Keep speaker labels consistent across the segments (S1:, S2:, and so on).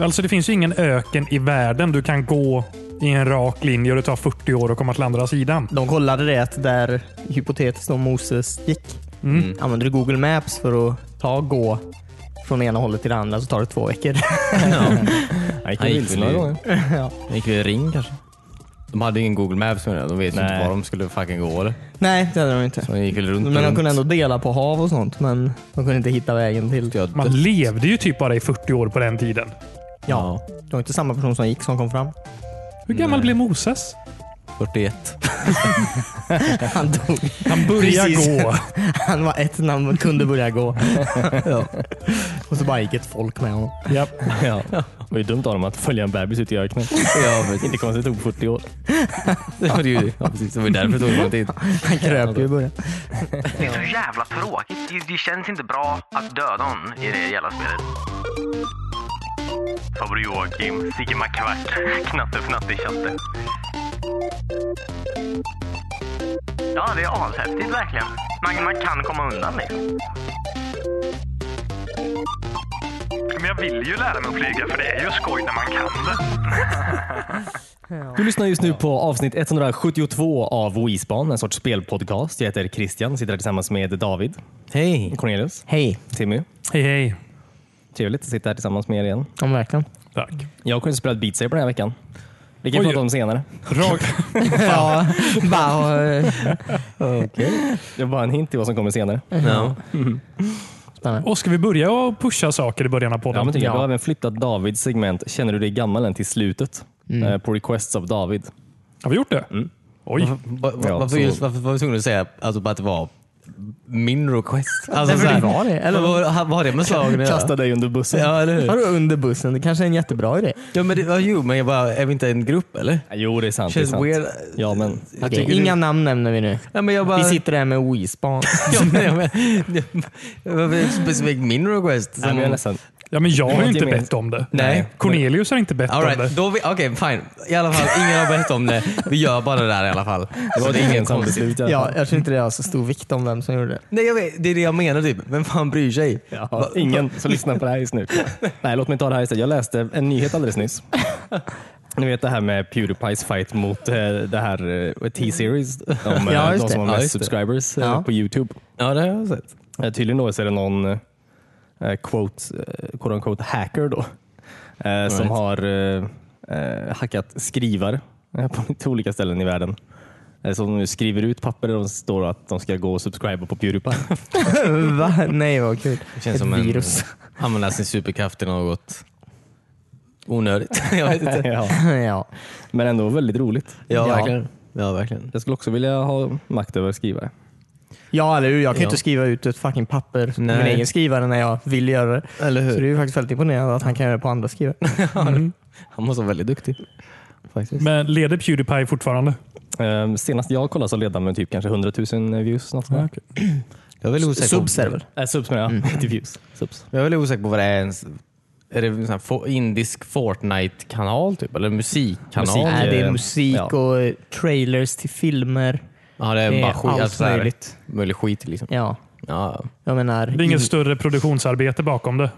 S1: Alltså det finns ju ingen öken i världen du kan gå i en rak linje och det tar 40 år att komma till andra sidan.
S2: De kollade det att där hypotetiskt om Moses gick,
S1: Mm.
S2: använder du Google Maps för att ta och gå från ena hållet till det andra så tar det två veckor.
S3: Han
S4: Han gick väl i-
S2: ja.
S4: Han gick väl i ring kanske? De hade ingen Google Maps med det. De vet ju inte
S3: Nej.
S4: var de skulle fucking gå eller.
S2: Nej, det hade de inte.
S4: Så de gick väl runt
S2: Men de
S4: runt.
S2: kunde ändå dela på hav och sånt, men de kunde inte hitta vägen till...
S4: Ja,
S1: Man
S4: det-
S1: levde ju typ bara i 40 år på den tiden.
S2: Ja, det var inte samma person som gick som kom fram.
S1: Hur gammal
S4: Nej.
S1: blev Moses?
S4: 41.
S2: Han dog.
S1: Han började
S2: Precis.
S1: gå.
S2: Han var ett när han kunde börja gå. ja. Och så bara gick ett folk med honom.
S1: Japp.
S3: Ja. Det var ju dumt av dem att följa en bebis ut i öknen.
S4: ja, precis.
S3: Inte konstigt, det tog 40 år.
S4: Det var ju ja, precis. Det var ju därför det tog så lång tid.
S2: Han kröp ju i början.
S5: Det är så jävla tråkigt. Det, det känns inte bra att döda någon i det jävla spelet. Fabre Joakim, Sigge McQuart, Knatte Fnatte Tjatte. Ja, det är ashäftigt verkligen. Man, man kan komma undan det. Men jag vill ju lära mig att flyga för det är ju skoj när man kan det.
S3: Du lyssnar just nu på avsnitt 172 av Wispan, en sorts spelpodcast. Jag heter Christian, sitter här tillsammans med David,
S4: Hej!
S3: Cornelius,
S2: Hej.
S3: Timmy.
S1: Hej hej.
S3: Trevligt att sitta här tillsammans med er igen.
S2: Ja, verkligen.
S1: Tack.
S3: Jag har kunnat spela Beat Saber den här veckan. Det kan vi
S1: Oj.
S3: prata om senare.
S1: Rak,
S2: ja, bara, eh,
S3: Det var bara en hint till vad som kommer senare.
S4: Ja.
S2: spännande.
S1: och ska vi börja och pusha saker i början av
S3: Ja, men typ.
S1: podden?
S3: tycker jag.
S2: Ja.
S3: Du har även flyttat Davids segment Känner du dig gammal än till slutet? Eh, På requests av David.
S1: Har vi gjort det? Oj.
S4: Va, va,
S3: Ja,
S4: varför,
S3: så-
S4: just, varför var vi tvungna att säga alltså, bara att det var min request? Alltså,
S2: Nej,
S4: så
S2: men
S4: här,
S2: det var det, eller?
S4: vad, vad har det med slagen att göra?
S3: Kasta dig under bussen.
S4: Ja, eller hur?
S2: Vadå under bussen? Det kanske är en jättebra idé.
S4: Ja, men det, ja, jo, men jag bara, är vi inte en grupp eller?
S3: Jo, det är sant. Det är
S4: Känns
S3: sant.
S4: weird.
S3: Ja, men
S4: Jag
S2: Okej,
S4: tycker
S2: Inga
S4: det-
S2: namn nämner vi nu.
S4: Ja, men jag bara...
S2: Vi sitter där med Wispan.
S4: Ja, men, ja, men, varför specifikt min request?
S3: Nej, men jag är
S4: Som-
S3: nästan...
S1: Ja, men jag har ju
S3: Något
S1: inte
S3: gemensamt.
S1: bett om det.
S4: Nej.
S1: Cornelius har inte bett
S4: All
S1: om det.
S4: right, då vi, okej fine. I alla fall, ingen har bett om det. Vi gör bara det där i alla fall.
S3: Det var
S4: Så
S3: ett
S4: det är ingen
S3: gemensamt
S4: konstigt.
S3: beslut. i alla
S2: Ja,
S3: fall.
S2: jag tror inte det har så stor vikt om vem som gjorde det.
S4: Nej, jag vet, det är det jag menar typ. Vem fan bryr sig?
S3: Ja, ingen som lyssnar på det här just nu. Nej, låt mig ta det här istället. Jag läste en nyhet alldeles nyss. Ni vet det här med Pewdiepies fight mot eh, det här eh, T-series. De, eh,
S2: Ja, just
S3: de som
S2: det.
S3: har
S4: Ja,
S3: mest
S4: just det.
S3: subscribers eh,
S2: Ja.
S3: på Youtube.
S4: Ja, det har jag sett.
S3: Eh, Tydligen då så är det någon eh, quote, eh, quote unquote hacker då, eh, som har eh, eh, hackat skrivare eh, på lite olika ställen i världen. Eh, som nu skriver ut papper där de står att de ska gå och subscriba på Pewdiepie.
S2: Va? Nej, vad kul.
S4: Det känns
S2: Ett
S4: som en...
S2: virus.
S4: Använda sin superkraft till något onödigt. jag vet inte.
S3: ja.
S2: ja.
S3: Men ändå väldigt roligt.
S4: Ja,
S2: Ja.
S4: verkligen. Ja, verkligen.
S3: Jag skulle också vilja ha makt över skrivare.
S2: ja, eller hur? Jag kan ju
S4: Ja.
S2: inte skriva ut ett fucking papper på
S4: Nej.
S2: min egen skrivare när jag vill göra det.
S4: Eller
S2: Så det är
S4: hur?
S2: ju faktiskt väldigt imponerande att han kan göra det på andra skrivare.
S4: Han måste vara väldigt duktig. Faktiskt.
S1: Men leder Pewdiepie fortfarande?
S3: Eh, senast jag kollade så ledde han med typ kanske 100 000 views. Något
S1: Mm.
S3: sånt där.
S4: Jag är väldigt osäker på-
S2: Subserver.
S3: Eh, subs menar jag. Inte views. Subs.
S4: Jag är väldigt osäker på vad det är ens. Är det en sån här fo- indisk Fortnite-kanal typ? Eller musikkanal?
S3: Musik.
S2: Nej, det
S3: eh,
S2: är musik
S3: ja.
S2: och eh, trailers till filmer.
S4: Ja, det
S2: Det
S4: är
S2: är
S4: bara skit.
S2: allt
S4: alltså, så här,
S2: möjligt.
S4: Möjlig skit liksom.
S2: Ja,
S4: Ja.
S2: jag menar.
S1: Det är inget
S2: in-
S1: större produktionsarbete bakom det.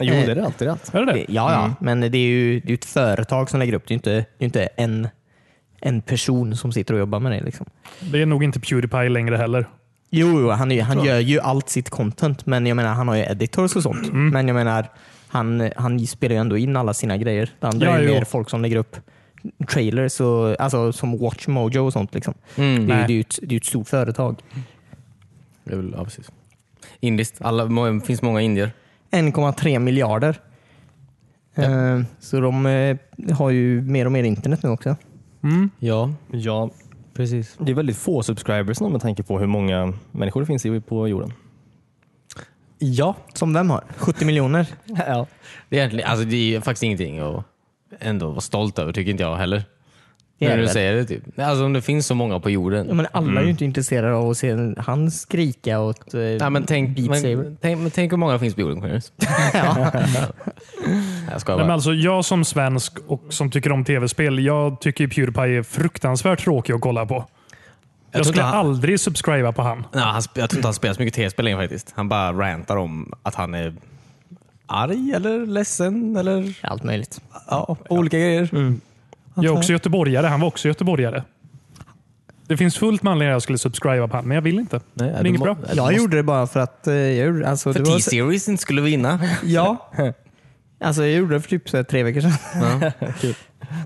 S3: Jo, det är det alltid. Det är alltid.
S1: Är det det?
S2: Ja, ja,
S4: Mm.
S2: men det är ju det är ju ett företag som lägger upp det. Det är ju inte, det är inte en, en person som sitter och jobbar med det. Liksom.
S1: Det är nog inte Pewdiepie längre heller.
S2: Jo, jo han, är, ju- han gör ju allt sitt content, men jag menar han har ju editors och sånt.
S1: Mm.
S2: Men jag menar, han, han spelar ju ändå in alla sina grejer. Det andra
S1: Ja,
S2: är ju
S1: jo.
S2: mer folk som lägger upp trailers, och, alltså som Watchmojo och sånt. Liksom.
S4: Mm.
S2: Det, är, ju-
S1: Nej.
S2: det, är ju ett, det är ju ett stort företag.
S4: Det är väl, ja, precis. Indiskt. Alla, må- det finns många indier.
S2: 1,3 miljarder. Eh, Så de eh, har ju mer och mer internet nu också.
S4: Ja,
S3: Ja,
S4: precis.
S3: det är väldigt få subscribers nu med tanke på hur många människor det finns i- på jorden.
S4: Ja.
S2: Som vem har? 70 miljoner?
S3: Ja.
S4: Det är, egentligen, alltså, det är faktiskt ingenting att ändå vara stolt över, tycker inte jag heller.
S2: Det är
S4: När
S2: det
S4: du
S2: väl.
S4: säger Mm. det typ. Alltså om det finns så många på jorden.
S2: Ja, men alla är ju inte intresserade av att se han skrika åt eh,
S4: Nej, men tänk,
S2: Beat Saber.
S4: men, tänk, men tänk hur många det finns på jorden, Cornelius. Jag skojar
S1: Nej, men
S4: bara.
S1: alltså, jag som svensk och som tycker om tv-spel, jag tycker ju Pewdiepie är fruktansvärt tråkig att kolla på. Jag,
S4: tror
S1: skulle
S4: inte han-
S1: aldrig subscriba på han.
S4: Nej, han, sp- jag tror inte han spelar så mycket tv-spel längre faktiskt. Han bara rantar om att han är
S3: arg eller ledsen eller
S2: Allt möjligt.
S3: ja, olika grejer.
S1: Jag är också göteborgare. Han var också göteborgare. Det finns fullt med anledningar jag skulle subscriba på han, men jag vill inte.
S3: Nej,
S1: det
S3: du
S1: är inget
S3: må-
S1: bra.
S2: Jag gjorde det bara för att eh, jag gjorde, alltså, det
S4: För
S2: var,
S4: T-Series inte skulle vinna.
S2: Ja. Alltså jag gjorde det för typ så här tre veckor sedan.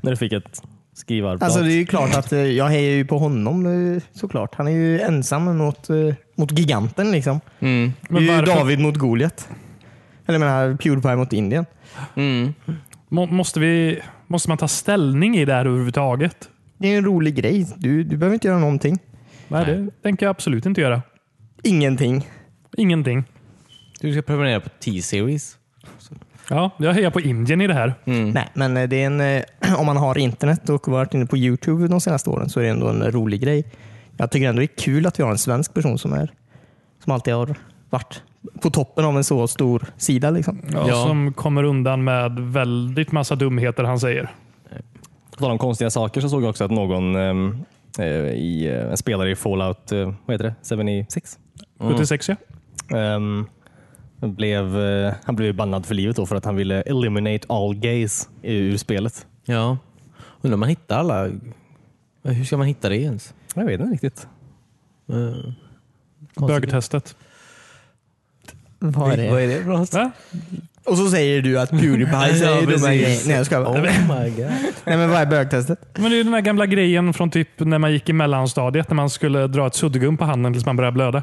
S3: När du fick ett skrivarblad.
S2: Alltså det är ju klart att eh, jag hejar ju på honom eh, såklart. Han är ju ensam mot, eh, mot giganten liksom.
S4: Mm.
S1: Men
S2: det är ju
S1: varför-
S2: David mot Goliat. Eller jag menar Pewdiepie mot Indien.
S4: Mm.
S1: Må- Måste, vi, måste man ta ställning i det här överhuvudtaget?
S2: Det är en rolig grej. Du, du behöver inte göra någonting.
S1: Nej, det tänker jag absolut inte göra.
S2: Ingenting.
S1: Ingenting.
S4: Du ska prenumerera på T-Series.
S1: Ja, jag hejar på Indien i det här.
S2: Nej, men eh, det är en, eh, om man har internet och varit inne på Youtube de senaste åren så är det ändå en eh, rolig grej. Jag tycker ändå det är kul att vi har en svensk person som är som alltid har varit på toppen av en så stor sida. Liksom.
S1: Ja,
S4: Ja.
S1: Som kommer undan med väldigt massa dumheter han säger.
S3: På tal om konstiga saker så såg jag också att någon ehm, eh, i, eh, en spelare i Fallout eh, vad heter det? 76
S1: 76 ja.
S3: ehm, blev, eh, han blev bannad för livet då för att han ville eliminate all gays ur spelet.
S4: Ja. Undrar om man hittar alla. Hur ska man hitta det ens?
S3: Jag vet inte riktigt.
S4: Eh,
S1: Bögtestet.
S2: Vad är
S4: Vad är det för något?
S1: Va?
S2: Och så säger du att Pewdiepie säger
S4: Ja,
S2: dumma grejer.
S4: precis.
S2: Nej, jag skojar bara.
S4: Oh my god.
S2: Nej, men vad är bögtestet?
S1: Men det är den här gamla grejen från typ när man gick i mellanstadiet när man skulle dra ett suddgum på handen tills man började blöda.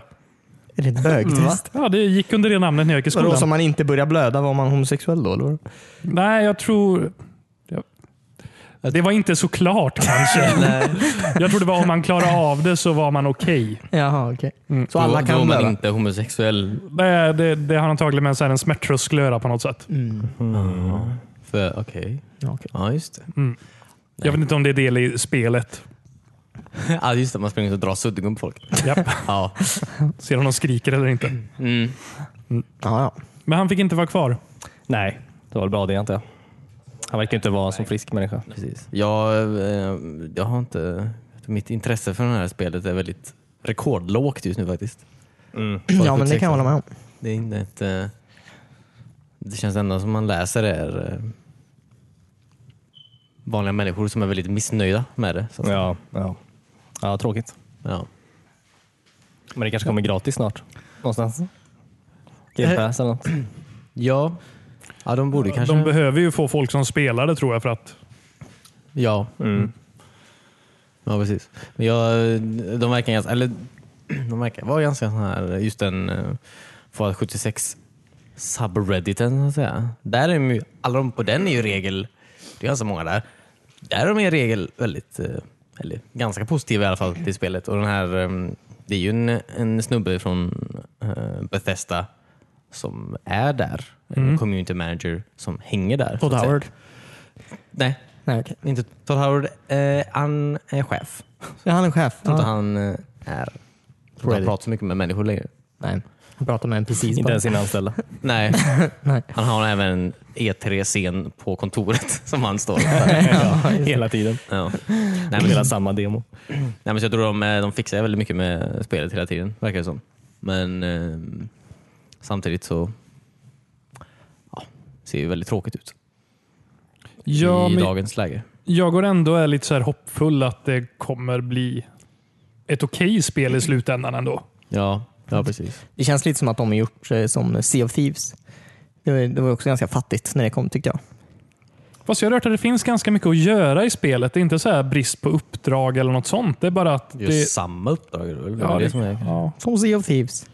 S2: Är det ett bögtest?
S1: Ja, det gick under det namnet när jag gick i
S2: Vadå,
S1: skolan.
S2: som man inte börjar blöda? Var man homosexuell då? Eller? vadå?
S1: Nej, jag tror... jag- Det var inte så klart kanske. jag tror det var om man klarade av det så var man okej.
S2: Jaha, okej. Så alla
S4: då är
S2: kan
S4: man
S2: blöda?
S4: inte homosexuell.
S1: Det, det, det har antagligen med så här en smärttröskel att göra på något sätt.
S4: För, okej.
S2: Ja, okej.
S4: Ja, just det.
S1: Jag vet inte om det är del i spelet.
S4: Ja, just det. Man springer och drar suddgum på folk.
S1: Japp.
S4: Ja.
S1: Ser om de skriker eller inte.
S4: Mm.
S2: Ja, ja.
S1: Men han fick inte vara kvar.
S3: Nej, det var väl bra det antar jag. Han verkar inte vara en så frisk människa.
S4: Precis. Jag, eh, jag har inte... Mitt intresse för det här spelet är väldigt rekordlågt just nu faktiskt.
S2: ja, men det kan jag hålla med om.
S4: Det, är inte ett, eh, det känns ändå som man läser är eh, vanliga människor som är väldigt missnöjda med det. Så att,
S3: Ja, ja. ja, tråkigt.
S4: ja.
S3: Men det kanske kommer gratis snart. Någonstans. Game Pass eller något.
S4: Eh, Ja. ja, de borde kanske...
S1: De behöver ju få folk som spelar det tror jag för att...
S4: Ja.
S2: Mm.
S4: Mm. Ja, precis. Men jag, de verkar ganska, eller de verkar vara ganska sån här, just den eh, Fallout 76 subredditen så att säga. Där är de ju, alla de på den är ju regel, det är ganska många där. Där är de i regel väldigt, eh, eller ganska positiva i alla fall till spelet. Och den här, eh, det är ju en, en snubbe från eh, Bethesda som är där. En community manager som hänger där. så
S2: Mm. Todd
S4: att säga.
S2: Howard?
S4: Nej,
S2: Nej, okej.
S4: inte Todd Howard. Eh, han är chef.
S2: Ja, han är chef.
S4: Jag tror inte
S2: Ja.
S4: han eh, är... Jag tror inte han
S2: Reddit.
S4: pratar så mycket med människor längre.
S2: Nej, han pratar med en precis
S3: Inte
S2: bara.
S3: ens sina anställda.
S4: Nej.
S2: Nej.
S4: Han har även en E3-scen på kontoret som han står för.
S3: Hela tiden.
S4: ja. Nej, men,
S3: Hela samma demo.
S4: nej, men så jag tror de, eh, de fixar väldigt mycket med spelet hela tiden, verkar det som. Men eh, samtidigt så ja, ser det ju väldigt tråkigt ut
S1: Ja,
S4: i
S1: men
S4: dagens läge.
S1: jag går ändå är lite så här hoppfull att det kommer bli ett okej spel i slutändan ändå.
S4: Ja, ja precis.
S2: Det känns lite som att de har gjort eh, som Sea of Thieves. Det var, det var också ganska fattigt när det kom tyckte jag.
S1: Fast jag har hört att det finns ganska mycket att göra i spelet. Det är inte så här brist på uppdrag eller något sånt. Det är bara att...
S4: Just
S1: det,
S4: samma uppdrag. eller? Det
S1: Ja,
S4: var
S1: det-
S4: det som är...
S1: ja.
S2: Som Sea of Thieves.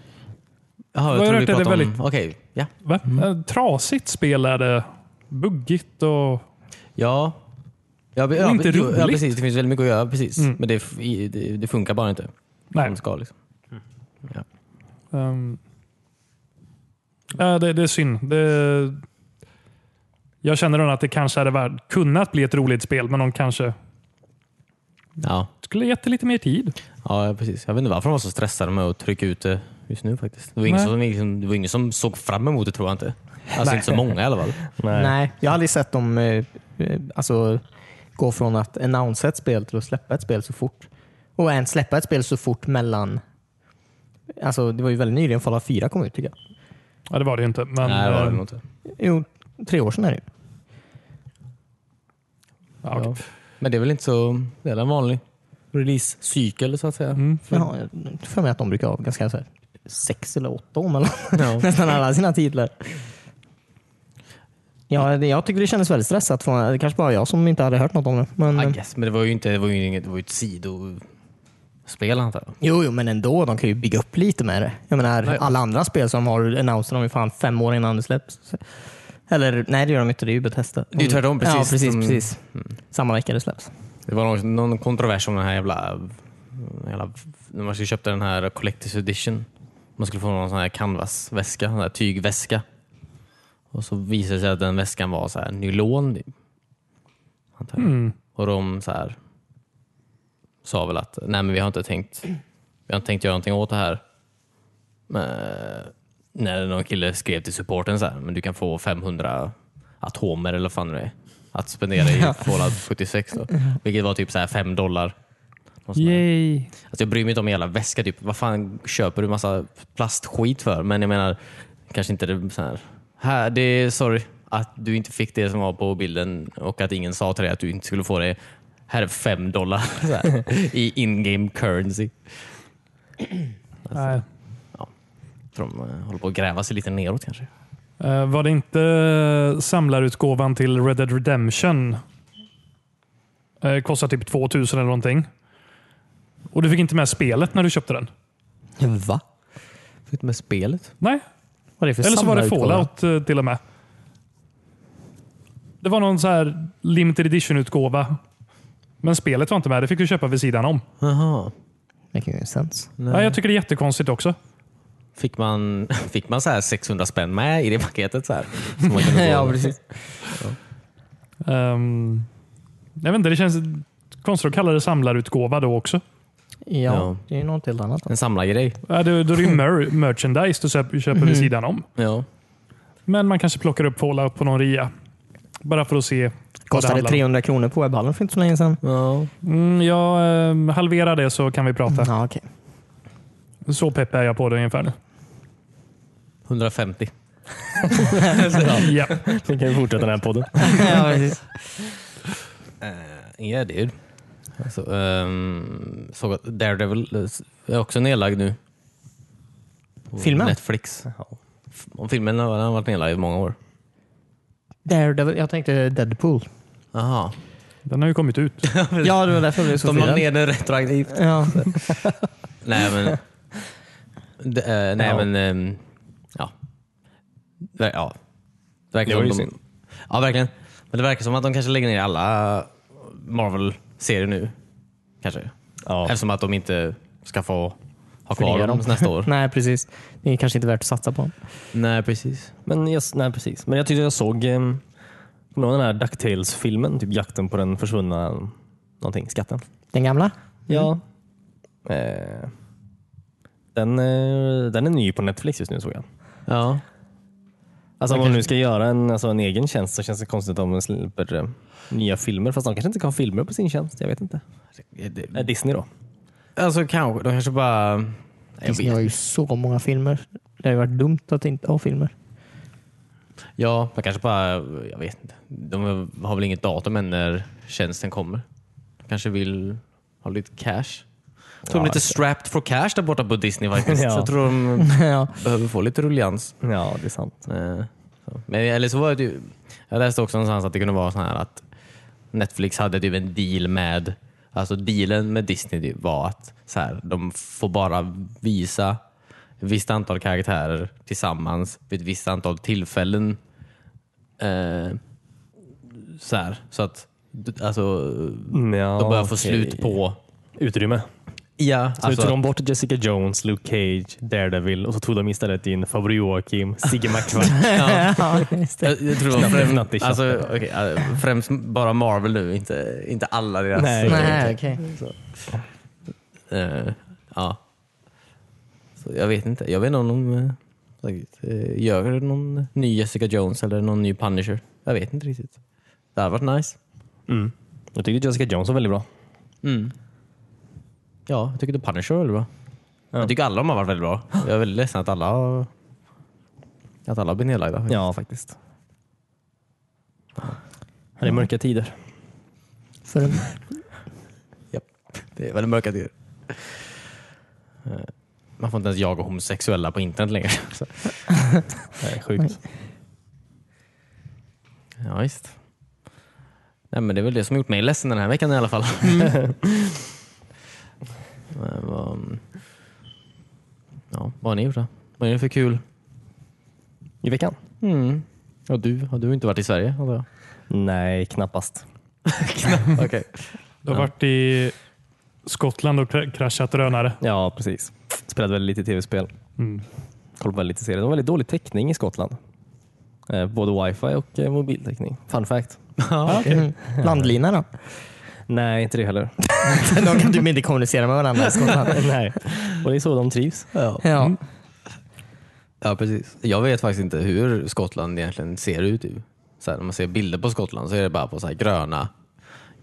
S4: Jaha,
S1: Vad
S4: jag
S1: jag
S4: trodde vi
S1: hört är det
S4: pratade om...
S1: väldigt-
S4: Okej, ja.
S1: Va? Eh, Trasigt spel är det. Buggigt och...
S4: Ja. Ja, be- ja,
S1: inte
S4: be- jo, ja,
S1: roligt. Mm.
S4: precis. Det finns väldigt mycket att göra, precis. men det, f- i- det, det funkar bara inte.
S1: Nej.
S4: Som det ska, liksom.
S1: ehm,
S4: Mm.
S1: ja, eh, det, det är synd. Det, jag känner nog att det kanske hade varit, kunnat bli ett roligt spel, men de kanske
S4: ja.
S1: skulle gett det lite mer tid.
S4: ja, precis. Jag vet inte varför de var så stressade med att trycka ut det just nu faktiskt. Det var ingen
S1: Nej.
S4: som, liksom, det var ingen som såg fram emot det tror jag inte. Alltså inte så många i alla fall.
S2: Nej. jag har aldrig sett dem eh, eh, alltså, gå från att annonsa ett spel till att släppa ett spel så fort. Och ens släppa ett spel så fort mellan... Alltså, det var ju väldigt nyligen Fallout 4 kom ut tycker jag.
S1: Ja, det var det ju inte. Men,
S4: Nej, det var det
S1: eh,
S4: nog inte.
S2: Jo, tre år sedan är det ju.
S1: ja, okej.
S4: Ja. Men det är väl inte så... Det är en vanlig releasecykel så att säga.
S1: Mm.
S2: Jaha, jag har för mig att de brukar ha ganska så här, sex eller åtta år mellan
S4: Ja.
S2: nästan alla sina titlar. Ja, det, jag tycker det kändes väldigt stressat. Från, det kanske bara jag som inte hade hört något om det. Men,
S1: Mm.
S4: I guess, men det var ju inte... Det var ju, inget, det var ju ett sidospel antar jag.
S2: jo, jo, men ändå. De kan ju bygga upp lite med det. Jag menar, alla andra spel som har annonser de ju fan fem år innan det släpps. Eller nej, det gör de inte. Det är ju Bethesda.
S4: Det är ju tvärtom, precis. Mm.
S2: Ja, precis.
S4: De-
S2: precis. Samma vecka det släpps.
S4: Det var någon, någon kontrovers om den här jävla, jävla... När man skulle köpa den här Collector's Edition. Man skulle få någon sån här canvasväska, en sån här tygväska. Och så visade det sig att den väskan var så här nylon. typ. Antar jag.
S1: Mm.
S4: Och de så här, sa väl att nej men vi har inte tänkt vi har inte tänkt göra någonting åt det här. Men, Eh, när någon kille skrev till supporten så här, men du kan få 500 atomer eller vad fan det är att spendera i Fallout 76. Då, vilket var typ så här 5 dollar. Någon sån här.
S1: Yay.
S4: Alltså jag bryr mig inte om en jävla väska. Typ. Vad fan köper du massa plastskit för? Men jag menar, kanske inte det så här. här det är, sorry att du inte fick det som var på bilden och att ingen sa till dig att du inte skulle få det. Här är fem dollar så här, i in-game currency.
S1: Nej.
S4: För de eh, håller på att gräva sig lite neråt kanske.
S1: Eh, var det inte eh, samlarutgåvan till Red Dead Redemption? Eh, kostar typ 2000 eller någonting. Och du fick inte med spelet när du köpte den?
S4: Va? Fick du med spelet?
S1: Nej,
S2: Vad är det för
S1: eller så var det
S2: samlarutgåva?
S1: Fallout eh, till och med. Det var någon så här limited edition-utgåva. Men spelet var inte med. Det fick du köpa vid sidan om.
S4: Jaha.
S2: Det kan ju sens.
S1: Nej. jag tycker det är jättekonstigt också.
S4: Fick man, fick man så här 600 spänn med i det paketet? Så här, som man kunde få?
S2: ja, precis.
S1: Ehm, jag vet inte, det känns konstigt att kalla det samlarutgåva då också.
S2: Ja,
S4: Ja.
S2: det är ju något helt annat.
S4: En samlargrej.
S1: Ja, det, då är det ju mer- merchandise du köper, köper
S2: Mhm.
S1: vid sidan om.
S4: Ja.
S1: Men man kanske plockar upp Fallout på någon rea. Bara för att se. vad
S2: Kostade
S1: handlar om.
S2: 300 kronor på webbhallen för inte så länge sedan.
S4: ja.
S1: Mm, jag eh, halverar det så kan vi prata.
S2: Ja, okej.
S1: Så pepp är jag på det ungefär nu.
S4: 150.
S1: ja.
S3: Vi kan ju fortsätta den här podden.
S4: Yeah dude. Alltså, ehm, såg att Daredevil eh, är också nedlagd nu. På
S2: Filmen?
S4: Netflix. F- Om filmen har den har varit nedlagd i många år.
S2: Daredevil, jag tänkte Deadpool.
S4: Aha.
S1: Den har ju kommit ut.
S2: Ja, det var därför jag blev så
S4: De la
S2: förvirrad.
S4: ner den retroaktivt.
S2: Ja.
S4: nej men... D- eh, nej
S3: Ja.
S4: men... ehm, ja. Ver- ja.
S3: Det var
S4: Verkligen.
S3: ju
S4: som de,
S3: synd.
S4: ja verkligen. Men det verkar som att de kanske lägger ner alla Marvel-serier nu. Kanske.
S3: Ja.
S4: Eftersom att de inte ska få ha
S2: Förnya
S4: kvar dem
S2: dem.
S4: nästa år.
S2: Nej, precis. Det är kanske inte värt att satsa på.
S4: Nej, precis.
S3: Men, yes, nej, precis. Men jag tyckte jag såg eh, någon av den här Ducktails-filmen, typ jakten på den försvunna någonting, skatten.
S2: Den gamla?
S3: Ja. Eh, den, eh, den är ny på Netflix just nu såg jag.
S4: Ja.
S3: Alltså om man nu ska göra en, alltså en egen tjänst så känns det konstigt om man släpper eh, nya filmer. Fast de kanske inte kan ha filmer på sin tjänst. Jag vet inte. Eh, Disney då?
S4: Alltså kanske, de kanske bara... Jag
S2: Disney har
S4: vet.
S2: ju så många filmer. Det har ju varit dumt att inte ha filmer.
S4: Ja, de kanske bara... Jag vet inte. De har väl inget datum än när tjänsten kommer. De kanske vill ha lite cash. Jag tror de är lite strapped for cash där borta på Disney faktiskt.
S3: Ja.
S4: Jag tror de
S2: ja.
S4: behöver få lite rullians.
S3: Ja, det är sant.
S4: Eh, så. Men, eller så var det ju, jag läste också någonstans att det kunde vara så här att Netflix hade typ en deal med, alltså dealen med Disney typ var att så här, de får bara visa ett visst antal karaktärer tillsammans vid ett visst antal tillfällen. Eh, så, här, så att alltså,
S3: Mm, Ja,
S4: de börjar få
S3: Ah, okej.
S4: slut på...
S3: utrymme.
S4: Ja, alltså,
S3: Så nu tog de bort Jessica Jones, Luke Cage, Daredevil och så tog de istället in Fabio Joakim, Sigge McQuack.
S2: ja, just det.
S4: Jag, jag tror det var främst,
S3: knattig
S4: alltså, okej, eh, främst bara Marvel nu, inte, inte alla deras...
S3: Nej.
S2: Nej, okej.
S4: Eh, ja. Så jag vet inte. Jag vet inte om de eh, säkert, eh, gör någon ny Jessica Jones eller någon ny Punisher. Jag vet inte riktigt. Det hade varit nice.
S3: Mm. Jag tyckte Jessica Jones var väldigt bra.
S4: Mm. Ja, jag tycker The Punisher var väldigt bra. Jag tycker alla de har varit väldigt bra. Jag är väldigt ledsen att alla har... Att alla blir nedlagda.
S3: Ja, faktiskt. Det är mörka tider.
S2: För en,
S4: Det är väldigt mörka tider. Eh, Man får inte ens jaga homosexuella på internet längre. Så.
S3: Nej, sjukt.
S4: Ja, visst. Nej, men det är väl det som gjort mig ledsen den här veckan i alla fall. Mm. Men vad- mm. ja, vad har ni gjort då? Vad är det för kul?
S3: I veckan?
S4: Mm. Ja, du, har du inte varit i Sverige? antar jag?
S3: Nej, knappast.
S4: Okej.
S1: Du har
S4: Ja.
S1: varit i Skottland och kra- kraschat drönare.
S3: Ja, precis. Spelade väldigt lite tv-spel.
S1: Mm.
S3: Kollade på väldigt lite serier. Det var väldigt dålig täckning i Skottland. Eh, Både wifi och eh, mobiltäckning. Fun fact.
S4: Ja, okej.
S2: mm, landlina då?
S3: Nej, inte det heller.
S2: De kan typ inte kommunicera med varandra i Skottland.
S3: Nej. Och det är så de trivs.
S4: Ja.
S2: Ja.
S4: Ja, precis. Jag vet faktiskt inte hur Skottland egentligen ser ut. Typ. Så här, när man ser bilder på Skottland så är det bara på så här gröna,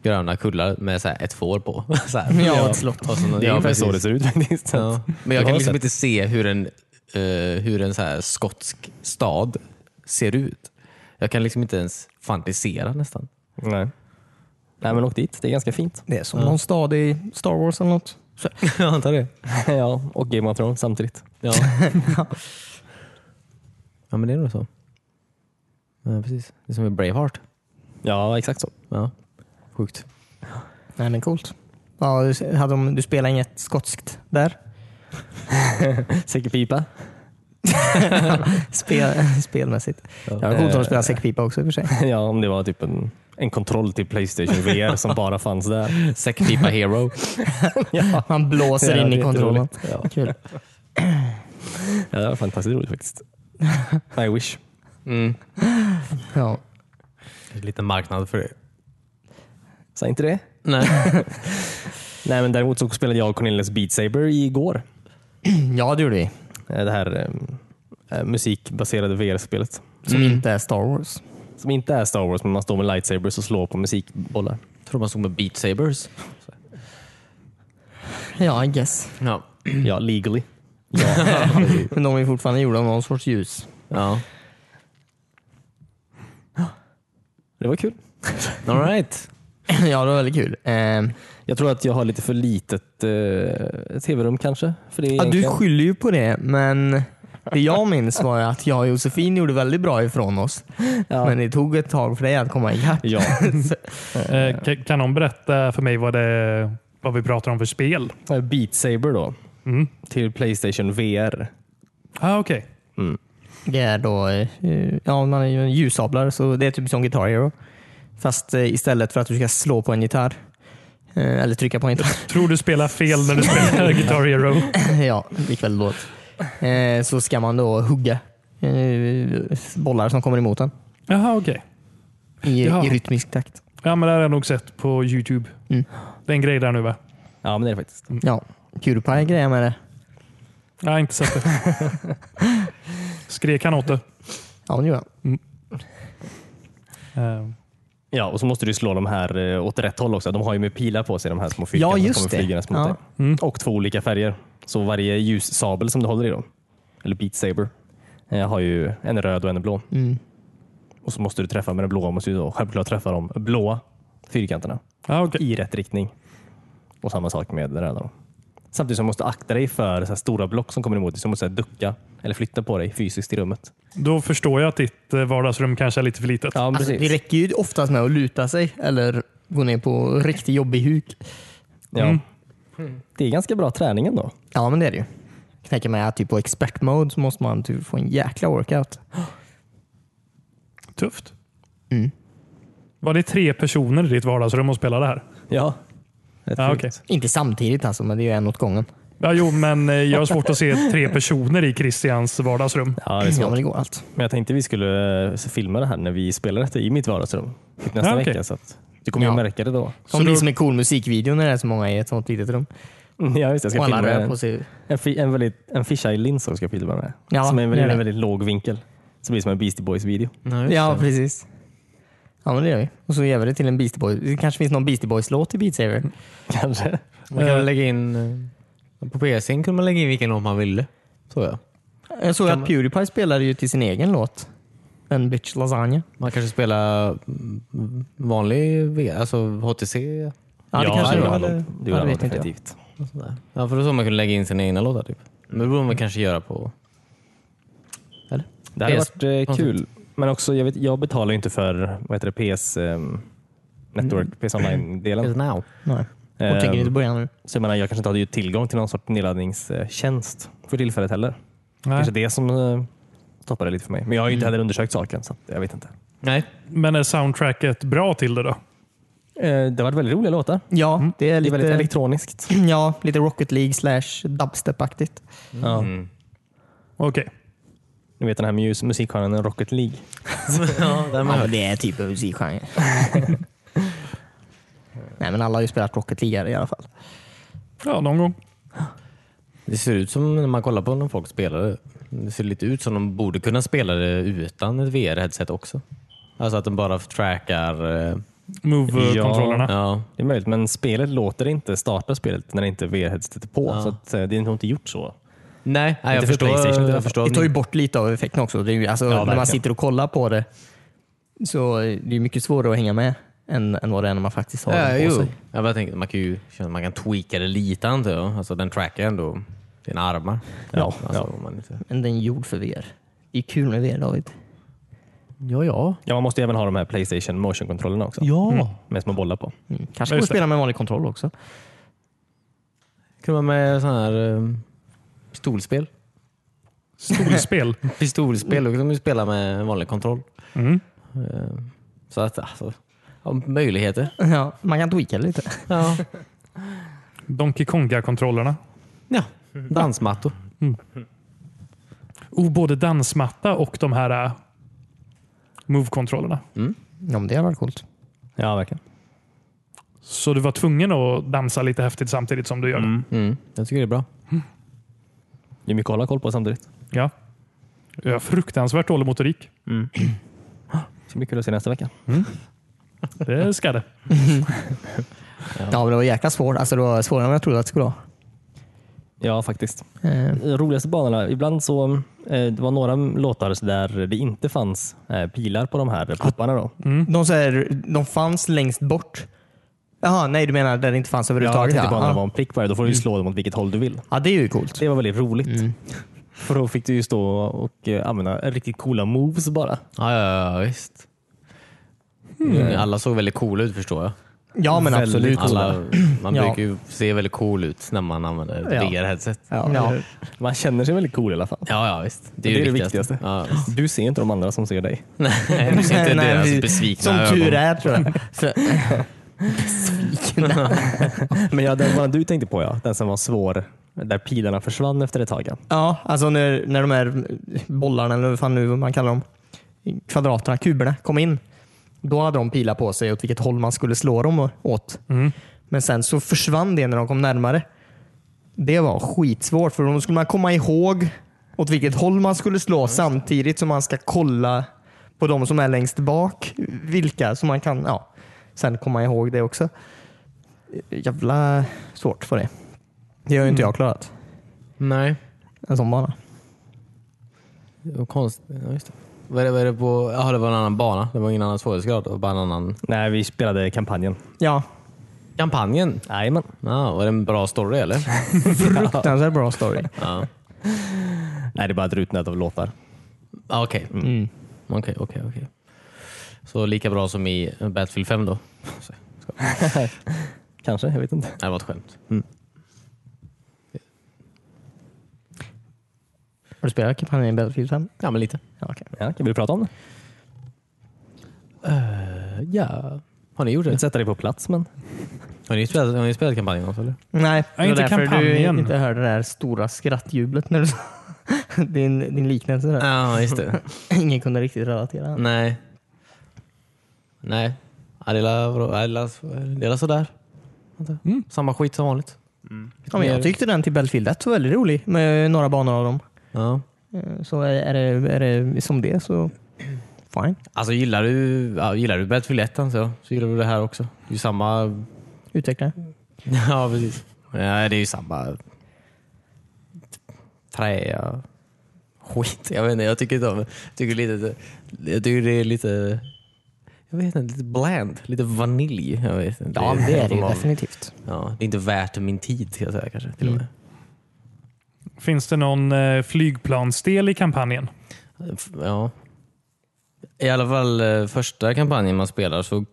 S4: gröna kullar med så här ett får på. Så här.
S2: Ja, ett slott.
S4: Och så,
S3: Det är ungefär så det ser ut faktiskt.
S4: Ja. Men jag
S3: Det har
S4: kan liksom
S3: sett.
S4: inte se hur en, eh, hur en så här skotsk stad ser ut. Jag kan liksom inte ens fantisera nästan.
S3: Nej. Nej, men åk dit. Det är ganska fint.
S2: Det är som någon stad i Star Wars eller något. Så,
S4: Jag antar det.
S3: ja, och Game of Thrones samtidigt.
S4: Ja. ja, men det är nog så. Ja, precis. Det är som i Braveheart.
S3: Ja, exakt så.
S4: Ja. Sjukt.
S2: nej, det är coolt. Ja, du, hade de, du spelade inget skotskt där?
S3: Säckerpipa.
S2: Spel, spelmässigt. Eh,
S4: Ja.
S2: Det var coolt om de spelade säckpipa också i och för sig.
S3: Ja, om det var typ en, en kontroll till Playstation VR som bara fanns där.
S4: Säckpipa Hero.
S3: Ja,
S2: Man blåser
S3: Ja,
S2: in
S3: det är
S2: i kontrollen.
S3: jätteroligt. Ja.
S2: Kul.
S3: Ja, det var fantastiskt roligt faktiskt. I wish.
S4: Mm.
S2: Ja.
S4: Lite marknad för det.
S3: Säg inte det.
S4: Nej.
S3: Nej, men däremot så spelade jag och Cornelius Beat Saber igår.
S2: ja, det gjorde vi.
S3: Eh, Det här ehm, eh, musikbaserade VR-spelet.
S2: Som
S4: Mm.
S2: inte är Star Wars.
S3: Som inte är Star Wars, men man står med lightsabers och slår på musikbollar.
S4: Tror man stod med Beat Sabers.
S2: Ja, I guess.
S4: Ja.
S3: Ja, legally.
S2: Men de är fortfarande gjorda av någon sorts ljus.
S4: ja.
S3: Det var kul.
S4: All right.
S2: ja, det var väldigt kul. Ehm,
S3: Jag tror att jag har lite för litet eh, tv-rum kanske. För det är
S2: ja, du
S3: egentligen-
S2: skyller ju på det, men det jag minns var ju att jag och Josefin gjorde väldigt bra ifrån oss. Men det tog ett tag för dig att komma ikapp.
S3: Ja,
S1: Eh, ka- Kan någon berätta för mig vad, det, vad vi pratar om för spel?
S3: Eh, Beat Saber då.
S1: Mm.
S3: Till Playstation VR.
S1: Ah, Okej.
S2: Det är då, eh, ja man är ju en ljussablar, så det är typ som Guitar Hero. Fast eh, istället för att du ska slå på en gitarr, eh, eller trycka på en gitarr,
S1: Tror du spelar fel när du spelar Guitar Hero?
S2: ja, likväl låt. Eh, så ska man då hugga eh, bollar som kommer emot en
S1: Jaha, okej.
S2: i,
S1: Ja.
S2: i rytmisk takt.
S1: Ja, men det har jag nog sett på Youtube.
S2: Mm.
S1: Det är en grej där nu va?
S3: Ja, men det är det faktiskt.
S2: Ja, PewDiePie grejer med det.
S1: Jag har inte sett det. Skrek han åt det?
S2: Ja, det gör han.
S1: Eh,
S3: Ja, och så måste du slå de här eh, åt rätt håll också. De har ju med pilar på sig, de här små fyrkanterna som
S2: just
S3: kommer
S2: det.
S3: flygandes mot
S2: Ja.
S3: dig. Mm. Och två olika färger. Så varje ljussabel som du håller i då, eller Beat Saber, eh, har ju en röd och en blå.
S2: Mm.
S3: Och så måste du träffa med den blåa, måste du då självklart träffa de blåa fyrkanterna
S1: Ja, okej.
S3: i rätt riktning. Och samma sak med den röda. Då. Samtidigt som du måste akta dig för så här stora block som kommer emot dig, så du måste så här ducka eller flytta på dig fysiskt i rummet.
S1: Då förstår jag att ditt eh, vardagsrum kanske är lite för litet.
S3: Ja,
S2: Alltså, det räcker ju oftast med att luta sig eller gå ner på riktigt jobbig huk.
S1: Mm.
S3: Det är ganska bra träning ändå.
S2: Ja, men det är det ju. Knäcker man är typ på expert mode så måste man typ få en jäkla workout.
S1: Tufft.
S2: Mm.
S1: Var det tre personer i ditt vardagsrum och spelade här?
S3: Ja.
S1: Ja, okej.
S2: Inte samtidigt alltså, men det är ju en åt gången.
S1: Ja, jo, men eh, jag har svårt att se tre personer i Christians vardagsrum.
S3: Ja, det är
S2: Ja,
S3: svårt.
S2: men det går allt.
S3: Men jag tänkte vi skulle eh, filma det här när vi spelar detta i mitt vardagsrum typ nästa
S1: Ja, okej.
S3: vecka. Så att du kommer ju
S2: Ja.
S3: märka det då.
S1: Så
S2: Som det
S1: då-
S2: är som en cool musikvideo när det är så många i ett sånt litet rum.
S3: Ja, just det. Jag
S2: Och
S3: ska
S2: alla
S3: filma
S2: rör på
S3: en,
S2: sig.
S3: en, fi- en, väldigt, en fisheye-lins som ska jag filma med.
S2: Ja,
S3: som är en
S2: gör
S3: väldigt,
S2: det.
S3: en väldigt låg vinkel. Så det blir som en Beastie Boys-video.
S2: Ja, precis. Ja, men det gör vi. Och så gör vi det till en Beastie Boys. Det kanske finns någon Beastie Boys-låt i Beat Saber.
S3: Kanske.
S4: Man kan
S1: Eh.
S4: väl lägga in... eh, På PSN kunde man lägga in vilken låt man ville. Så ja.
S2: Jag såg att Pewdiepie spelade ju till sin egen låt. En bitch lasagna.
S4: Man kanske spelar mm, vanlig V- alltså HTC?
S2: Ja, det kanske
S3: det
S2: var.
S3: gör
S2: eller-
S3: han. Det gör
S2: ja, det
S3: han
S2: vet inte jag.
S3: definitivt.
S4: och sådär. Ja, för det var så man kunde lägga in sina egna låtar. Typ. Men det borde man kanske göra på... Eller?
S3: Det hade
S4: PS.
S3: varit eh,
S4: Konstigt.
S3: kul. Men också, jag, vet, jag betalar ju inte för vad heter det, PS ehm, Network, PS Online-delen.
S4: Is now.
S2: Nej.
S3: Ehm,
S2: Mm. Och tänker inte börja nu.
S3: Så jag menar, jag kanske inte hade ju tillgång till någon sorts nedladdningstjänst för tillfället heller.
S1: Nej.
S3: Kanske det som eh, stoppade lite för mig. Men jag har ju inte heller undersökt saken, så att jag vet inte.
S4: Nej.
S1: Men är soundtracket bra till det då?
S3: Eh, det har varit väldigt roliga låtar.
S2: Ja, det är
S3: mm. Det är väldigt
S2: lite,
S3: elektroniskt.
S2: ja, lite Rocket League slash dubstep-aktigt.
S3: Ja.
S1: Okej.
S3: Ni vet den här mus- musikgenren Rocket League.
S4: ja, där man
S2: men det är typ av musikgenre. Nej, men alla har ju spelat Rocket League här i alla fall.
S1: Ja, någon gång.
S4: Det ser ut som när man kollar på när folk spelar det. Det ser lite ut som de borde kunna spela det utan ett VR-headset också. Alltså att de bara trackar... eh,
S1: Move-kontrollerna.
S4: Ja,
S3: Det är möjligt, men spelet låter inte starta spelet när det inte är VR-headsetet är på.
S4: Ja.
S3: Så att, eh, det är nog inte gjort så.
S4: Nej, nej jag,
S3: för
S4: förstår,
S3: PlayStation i alla fall.
S4: jag förstår.
S2: Det tar ju bort lite av effekten också. Det är ju, alltså, när
S3: verkligen.
S2: man sitter och kollar på det så är det är mycket svårare att hänga med än, än vad det är när man faktiskt har
S4: Ja,
S2: den på
S4: jo.
S2: sig.
S4: Jag bara tänkte, man kan ju känna att man kan tweaka det lite antar jag. Alltså den trackar ändå dina armar. Ja, alltså, Om man inte...
S2: Men den är gjord för VR. Det är kul med VR David.
S4: ja. Ja,
S3: Ja, man måste ju även ha de här Playstation motion-kontrollerna också.
S4: ja.
S3: Med små bollar på.
S2: Mm. Kanske
S1: Ja,
S2: går
S1: just
S2: att spela med vanlig kontroll också.
S4: Kunde man med sån här eh, pistolspel?
S1: Stolspel.
S4: Pistolspel, då kan man ju spela med en vanlig kontroll.
S1: Mm.
S4: Eh, Så att alltså, ja, möjligheter.
S2: Ja, man kan tweaka lite.
S4: Ja.
S1: Donkey Konga-kontrollerna.
S4: ja. Dansmattor.
S1: Oh, både dansmatta och de här äh, move-kontrollerna.
S2: Ja, men det hade varit coolt.
S3: Ja, verkligen.
S1: Så du var tvungen att dansa lite häftigt samtidigt som du gör det.
S4: Mm. Jag tycker det är bra.
S3: Det är mycket att hålla koll på samtidigt.
S1: Ja. Jag har fruktansvärt dålig motorik.
S3: Det ska bli kul att se nästa vecka.
S1: Det ska det.
S2: Ja, men det var jäkla svårt. Alltså, det var svårare än jag trodde att det skulle vara.
S3: Ja, faktiskt.
S2: Eh,
S3: De roligaste banorna. Ibland så eh, det var några låtar så där det inte fanns eh, pilar på de här popparna. Då.
S2: De, så här, de fanns längst bort. Jaha, nej du menar där det inte fanns
S3: Ja, jag
S2: överhuvudtaget?
S3: tänkte bara när det var
S2: ja. Mm.
S3: en prick på det. Då får du ju slå dem åt vilket håll du vill.
S2: ja, det är ju coolt.
S3: Det var väldigt roligt.
S2: Mm.
S3: För då fick du ju stå och eh, använda riktigt coola moves bara.
S4: Ja, ja, ja visst. Mm, Alla såg väldigt coola ut förstår jag.
S2: Ja, men
S3: Väldigt
S2: absolut.
S4: Alla, man
S2: Ja.
S4: brukar ju se väldigt cool ut när man använder
S2: Ja.
S4: VR-headset.
S2: Ja. Ja.
S3: Man känner sig väldigt cool i alla fall.
S4: Ja, ja visst. Det är,
S3: Det
S4: ju
S3: är det viktigaste.
S4: Ja.
S3: Du ser inte de andra som ser dig.
S4: Nej, du ser inte
S2: Nej,
S4: deras
S2: vi-
S4: besvikna
S2: Som
S4: ögon.
S2: tur är tror jag. För, besvikna.
S3: Men ja, den var du tänkte på ja. Den som var svår. Där pilarna försvann efter ett tag. ja.
S2: Ja, alltså när, när de här bollarna, eller vad fan nu man kallar dem, kvadraterna, kuberna, kom in. Då hade de pilar på sig åt vilket håll man skulle slå dem åt. Men sen så försvann det när de kom närmare. Det var skitsvårt för då skulle man komma ihåg åt vilket håll man skulle slå samtidigt som man ska kolla på de som är längst bak. Vilka som man kan, ja. Sen komma ihåg det också. Jävla svårt för det. Det har ju inte jag klarat.
S4: Nej.
S2: En sån bana.
S4: Det var konstigt. Ja, just det. Vad är det, vad är det på... Jaha, det var en annan bana. Det var ingen annan svårighetsgrad. Det var bara en annan...
S3: Nej, vi spelade kampanjen.
S2: Ja,
S4: Kampanjen.
S3: Jajamän.
S4: Ja, var det en bra story eller?
S2: fruktansvärt bra story.
S4: Ja.
S3: Nej, det är bara ett rutnät av låtar.
S4: Ah, Okej, okej, okej. okej. Så lika bra som i Battlefield 5 då? Nej,
S3: Kanske, jag vet inte.
S4: det var ett skämt.
S2: Har du spelat kampanjen i Battlefield 5?
S4: Ja, men lite.
S2: Ja, okej.
S3: Ja, kan vi prata om det?
S4: Eh, Ja. Har ni gjort
S3: Jag vill
S4: det?
S3: sätta dig på plats, men
S4: Har ni spelat, har ni spelat kampanjen också eller?
S2: Nej, det var
S1: inte
S2: därför
S1: kampanjen.
S2: du inte hörde det där stora skrattjublet när du sa din, din liknelse. Där.
S4: Ja, just det.
S2: Ingen kunde riktigt relatera.
S4: Nej. Nej. Ja, det är la- vadå? Ja, det är la- det är la sådär. Vänta. Samma skit som vanligt.
S2: Ja, men jag tyckte den till Battlefield 1 var väldigt rolig med några banor av dem.
S4: Ja.
S2: Eh, Så är, är, det, är det som det så fine.
S4: Alltså gillar du, ja, gillar du Battlefield 1 så, så gillar du det här också. Det är ju samma...
S2: Utveckla.
S4: Ja, precis. Ja, det är ju samma... Trä... skit. Jag vet inte, jag tycker inte om det. Jag tycker, lite, jag tycker det är lite, jag vet inte, lite bland. Lite vanilj. Jag vet inte.
S2: Ja, det är det
S4: form
S2: ju
S4: av-
S2: definitivt.
S4: Ja, det är inte värt min tid ska jag säga kanske. Till
S2: Mm.
S4: och med.
S1: Finns det någon eh, flygplansdel i kampanjen?
S4: F- Ja. I alla fall eh, första kampanjen man spelar så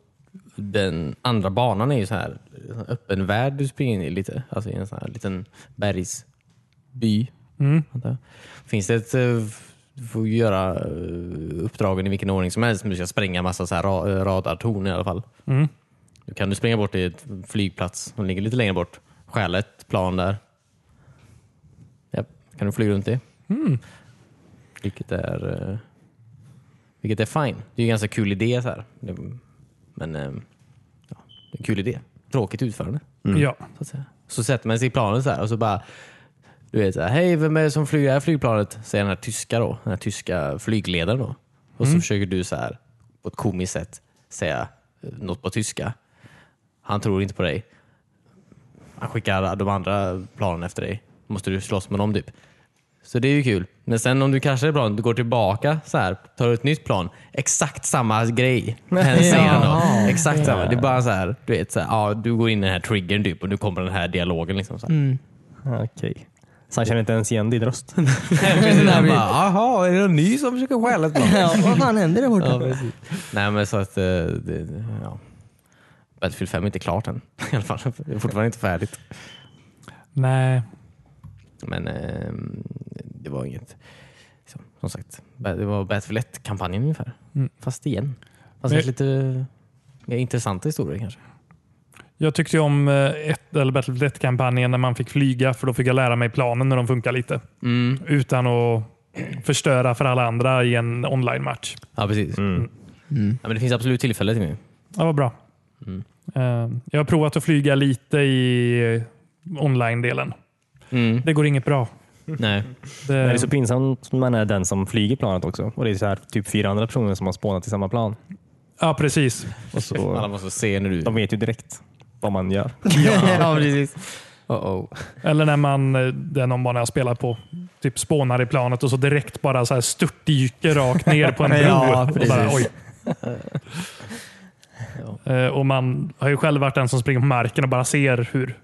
S4: den andra banan är ju så här en öppen värld du springer in i lite. Alltså i en sån här liten bergsby.
S1: Mm.
S4: antar jag. Finns det ett eh, f- du får ju göra eh, uppdragen i vilken ordning som helst, men du ska spränga massa så här ra- eh, radartorn i alla fall.
S1: Mm.
S4: Då kan du springa bort till ett flygplats som ligger lite längre bort. Stjäla ett plan där. Japp, kan du flyga runt det. Vilket är eh, Vilket är fine. Det är ju en ganska kul idé så här. Det- Men eh, ja, det är en kul idé. Tråkigt utförande.
S3: Mm.
S1: Ja.
S4: Så, att säga. så sätter man sig i planet så här och så bara du vet, så här, hej vem är det som flyger det här flygplanet? Säger den här tyska då, den här tyska flygledaren då. Och så försöker du så här på ett komiskt sätt säga eh, något på tyska. Han tror inte på dig. Han skickar de andra planen efter dig. Måste du slåss med dem typ. Så det är ju kul. Men sen om du kraschar i planet, du går tillbaka så här, tar ett nytt plan. Exakt samma grej. Hen säger han då. Exakt samma. Det är bara så här, du vet, så här, ja, du går in i den här triggern typ och nu kommer den här dialogen. Liksom, så här.
S2: Mm.
S3: Okej. Så han känner inte ens igen din röst?
S4: Precis, han bara, Jaha, är det någon ny som försöker stjäla ett plan?
S2: Ja, vad fan hände där borta?
S4: Nej men så att, eh, det, ja. Battlefield 5 är inte klart än. I alla fall, det är fortfarande inte färdigt.
S1: Nej.
S4: Men eh, det var inget, liksom, som sagt, det var Battlefield 1-kampanjen ungefär.
S1: Mm.
S4: Fast igen. Fast
S1: Men-
S4: med lite mer intressanta historier kanske.
S1: Jag tyckte ju om eh, ett, eller Battlefield 1-kampanjen när man fick flyga, för då fick jag lära mig planen när de funkar lite.
S3: Mm.
S1: Utan att förstöra för alla andra i en online-match.
S4: Ja precis. Mm. Ja, men det finns absolut tillfälle till nu.
S1: Ja, vad bra.
S3: Mm.
S1: Eh, Jag har provat att flyga lite i eh, online-delen. Det går inget bra.
S4: Nej.
S1: Det,
S3: Det är så pinsamt när man är den som flyger planet också. Och det är så här typ fyra andra personer som har spånat i samma plan.
S1: ja, precis.
S3: Och
S4: Alla
S3: så,
S4: måste se när du...
S3: de vet ju direkt vad man gör.
S4: ja precis. Uh-oh.
S1: Eller när man, eh, det är någon bana jag spelar på, typ spånar i planet och så direkt bara så här störtdyker rakt ner på en bro.
S2: Ja,
S1: och, bara,
S2: precis.
S1: oj. Eh, och Man har ju själv varit den som springer på marken och bara ser hur.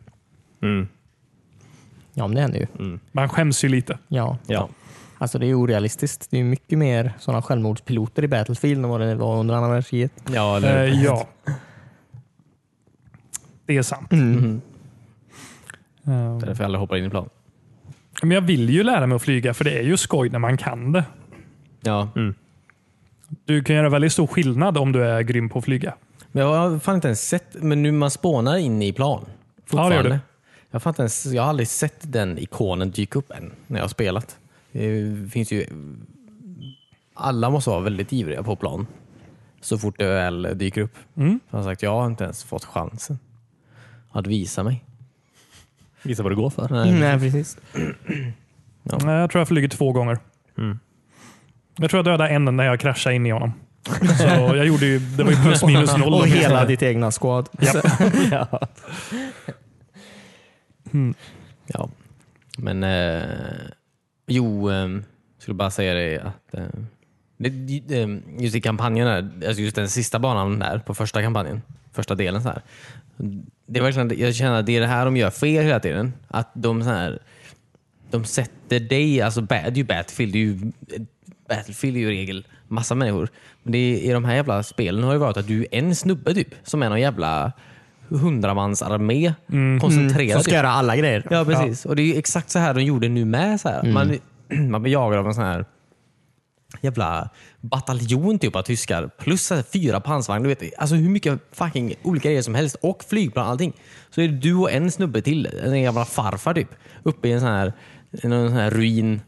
S2: Ja, men det händer ju.
S1: Man skäms ju lite.
S2: Ja.
S3: Ja.
S2: Alltså det är orealistiskt. Det är mycket mer sådana självmordspiloter i Battlefield än vad det var under andra världskriget.
S4: Ja, eller,
S1: Eh, ja. Det är sant.
S2: Mm.
S1: Eh,
S4: därför alla hoppar in i plan.
S1: Men jag vill ju lära mig att flyga för det är ju skoj när man kan det.
S4: Ja.
S1: Du kan göra väldigt stor skillnad om du är grym på att flyga.
S4: Men jag har fan inte ens sett, men nu man spånar in i plan. Fortfarande.
S1: Ja, det gör du.
S4: Jag, har fan inte ens, jag har aldrig sett den ikonen dyka upp än när jag har spelat. Det finns ju, alla måste vara väldigt ivriga på plan så fort det väl dyker upp.
S1: Mm.
S4: Jag har sagt, jag har inte ens fått chansen att visa mig.
S3: Visa vad det går för.
S4: Nej.
S2: Nej, precis.
S1: Nej, Jag tror jag flyger två gånger.
S2: Mm.
S1: Jag tror jag dödade en när jag kraschade in i honom. Så jag gjorde ju, det var ju plus minus noll.
S2: Och
S1: åtminstone.
S2: hela ditt egna squad.
S4: Ja. Men eh, jo, eh, skulle bara säga det att eh, det, det, eh, just i kampanjen, där, alltså just den sista banan där på första kampanjen, första delen så här. Det är verkligen, jag känner att det är det här de gör fel hela tiden. Att de så här, de sätter dig, alltså ba- det är ju Battlefield, det är ju, Battlefield är ju i regel massa människor. Men det är, i de här jävla spelen har det varit att du är en snubbe typ, som är någon jävla hundramansarmé koncentrerad.
S2: Mm, Som ska
S4: typ.
S2: göra alla grejer.
S4: Ja, precis. Och det är ju exakt så här de gjorde nu med. Så här. Man, man blir jagad av en sån här jävla bataljon typ av tyskar. Plus så här, fyra pansarvagnar. Du vet, alltså hur mycket fucking olika grejer som helst. Och flygplan och allting. Så är det du och en snubbe till, en jävla farfar typ, uppe i en sån här, i någon sån här ruin.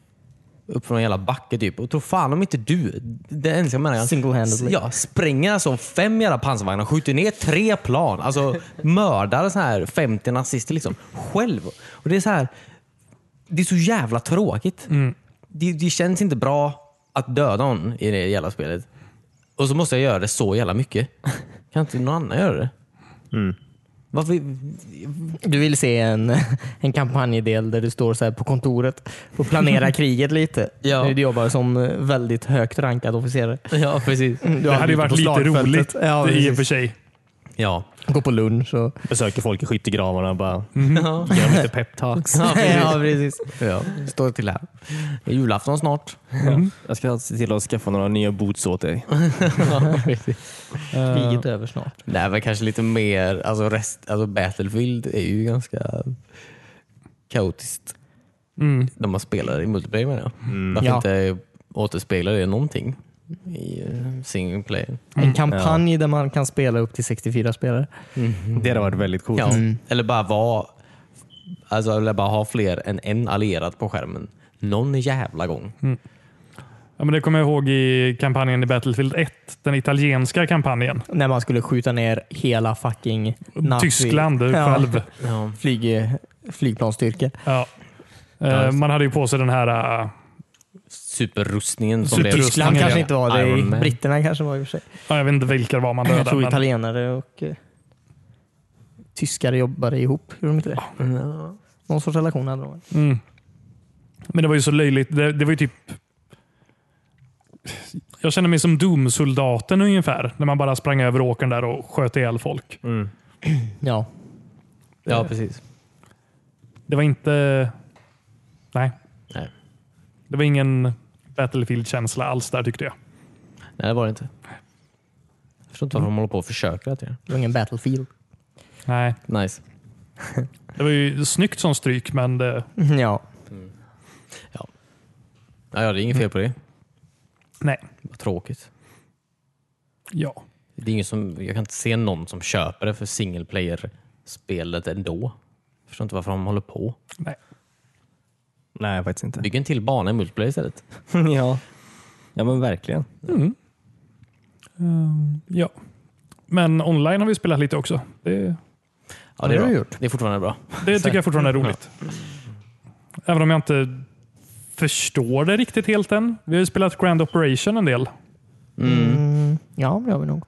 S4: Upp från en jävla backe typ. Och tro fan om inte du, den ensamma människan,
S2: Single-handedly.
S4: ja, spränger alltså fem jävla pansarvagnar, skjuter ner tre plan. Alltså mördar så här 50 nazister liksom. Själv. Och det är så här, det är så jävla tråkigt. Det, det känns inte bra att döda någon i det jävla spelet. Mm. Och så måste jag göra det så jävla mycket. Kan inte någon annan göra det? Varför?
S2: Du vill se en, en kampanjdel där du står så här på kontoret och planerar kriget lite.
S4: Ja.
S2: När du jobbar som eh, väldigt högt rankad officerare.
S4: Ja, precis.
S2: Du
S1: Det hade ju varit lite roligt
S2: Ja,
S1: i och
S2: precis.
S1: för sig.
S4: Ja.
S2: Gå på lunch och...
S3: Besöker folk i skyttegravarna och bara
S4: Ja.
S3: gör lite peptalks.
S4: Ja, precis.
S2: Ja, precis.
S4: Ja, står till här. Det är julafton snart.
S3: Jag ska se till att skaffa några nya boots åt dig.
S2: Kriget är över snart.
S4: Nej, men kanske lite mer, alltså, rest, alltså Battlefield är ju ganska kaotiskt
S1: Mm.
S4: när man spelar i multiplayer menar jag. Varför
S2: Ja.
S4: inte återspegla det någonting i eh, single player?
S2: En kampanj där man kan spela upp till 64 spelare.
S3: Det hade varit väldigt coolt.
S4: Ja. Eller bara vara, alltså, eller bara ha fler än en allierad på skärmen någon jävla gång.
S1: Ja, men det kommer jag ihåg i kampanjen i Battlefield 1. Den italienska kampanjen.
S2: När man skulle skjuta ner hela fucking nazi-
S1: Tyskland själv.
S4: Ja.
S2: Flyg, eh, flygplansstyrka.
S1: Ja. Eh, man hade ju på sig den här... eh,
S4: Superrustningen som blev...
S1: Superrustningen,
S2: Tyskland kanske inte var
S4: Iron
S2: det.
S4: Man.
S2: Britterna kanske var i och för sig.
S1: ja, jag vet inte vilka det var man
S2: Jag
S1: dödade.
S2: tror
S1: men-
S2: italienare och eh, tyskare jobbade ihop. Gjorde de inte det? Mm,
S4: Ja.
S2: Någon sorts relation hade de.
S1: Mm. Men det var ju så löjligt. Det, det var ju typ... Jag känner mig som Doom-soldaten ungefär. När man bara sprang över åkern där och sköt ihjäl folk.
S2: Ja.
S4: ja, precis.
S1: Det var inte... Nej.
S4: Nej.
S1: Det var ingen Battlefield-känsla alls där tyckte jag.
S4: Nej, det var det inte. Jag förstår inte varför
S2: Mm.
S4: de håller på och försöker att göra
S2: Det var ingen Battlefield.
S1: Nej.
S4: det. Nice.
S1: Det var ju snyggt som stryk, men det,
S2: Mm, Ja.
S4: Ja, ja, det är inget fel på det.
S1: Mm. nej.
S4: Vad tråkigt.
S1: Ja.
S4: Det är ingen som, jag kan inte se någon som köper det för single player-spelet ändå. Jag förstår inte varför de håller på.
S1: Nej.
S3: Nej, faktiskt inte.
S4: Bygg en till bana i multiplayer istället.
S3: ja. ja, men verkligen.
S1: Ehm, ja. Men online har vi spelat lite också. Det,
S4: Ja, det, är
S2: har du
S4: bra.
S2: gjort.
S4: det är fortfarande bra.
S1: det tycker jag fortfarande är roligt. Även om jag inte förstår det riktigt helt än. Vi har ju spelat Grand Operation en del.
S2: Mm. Ja, men det har vi nog.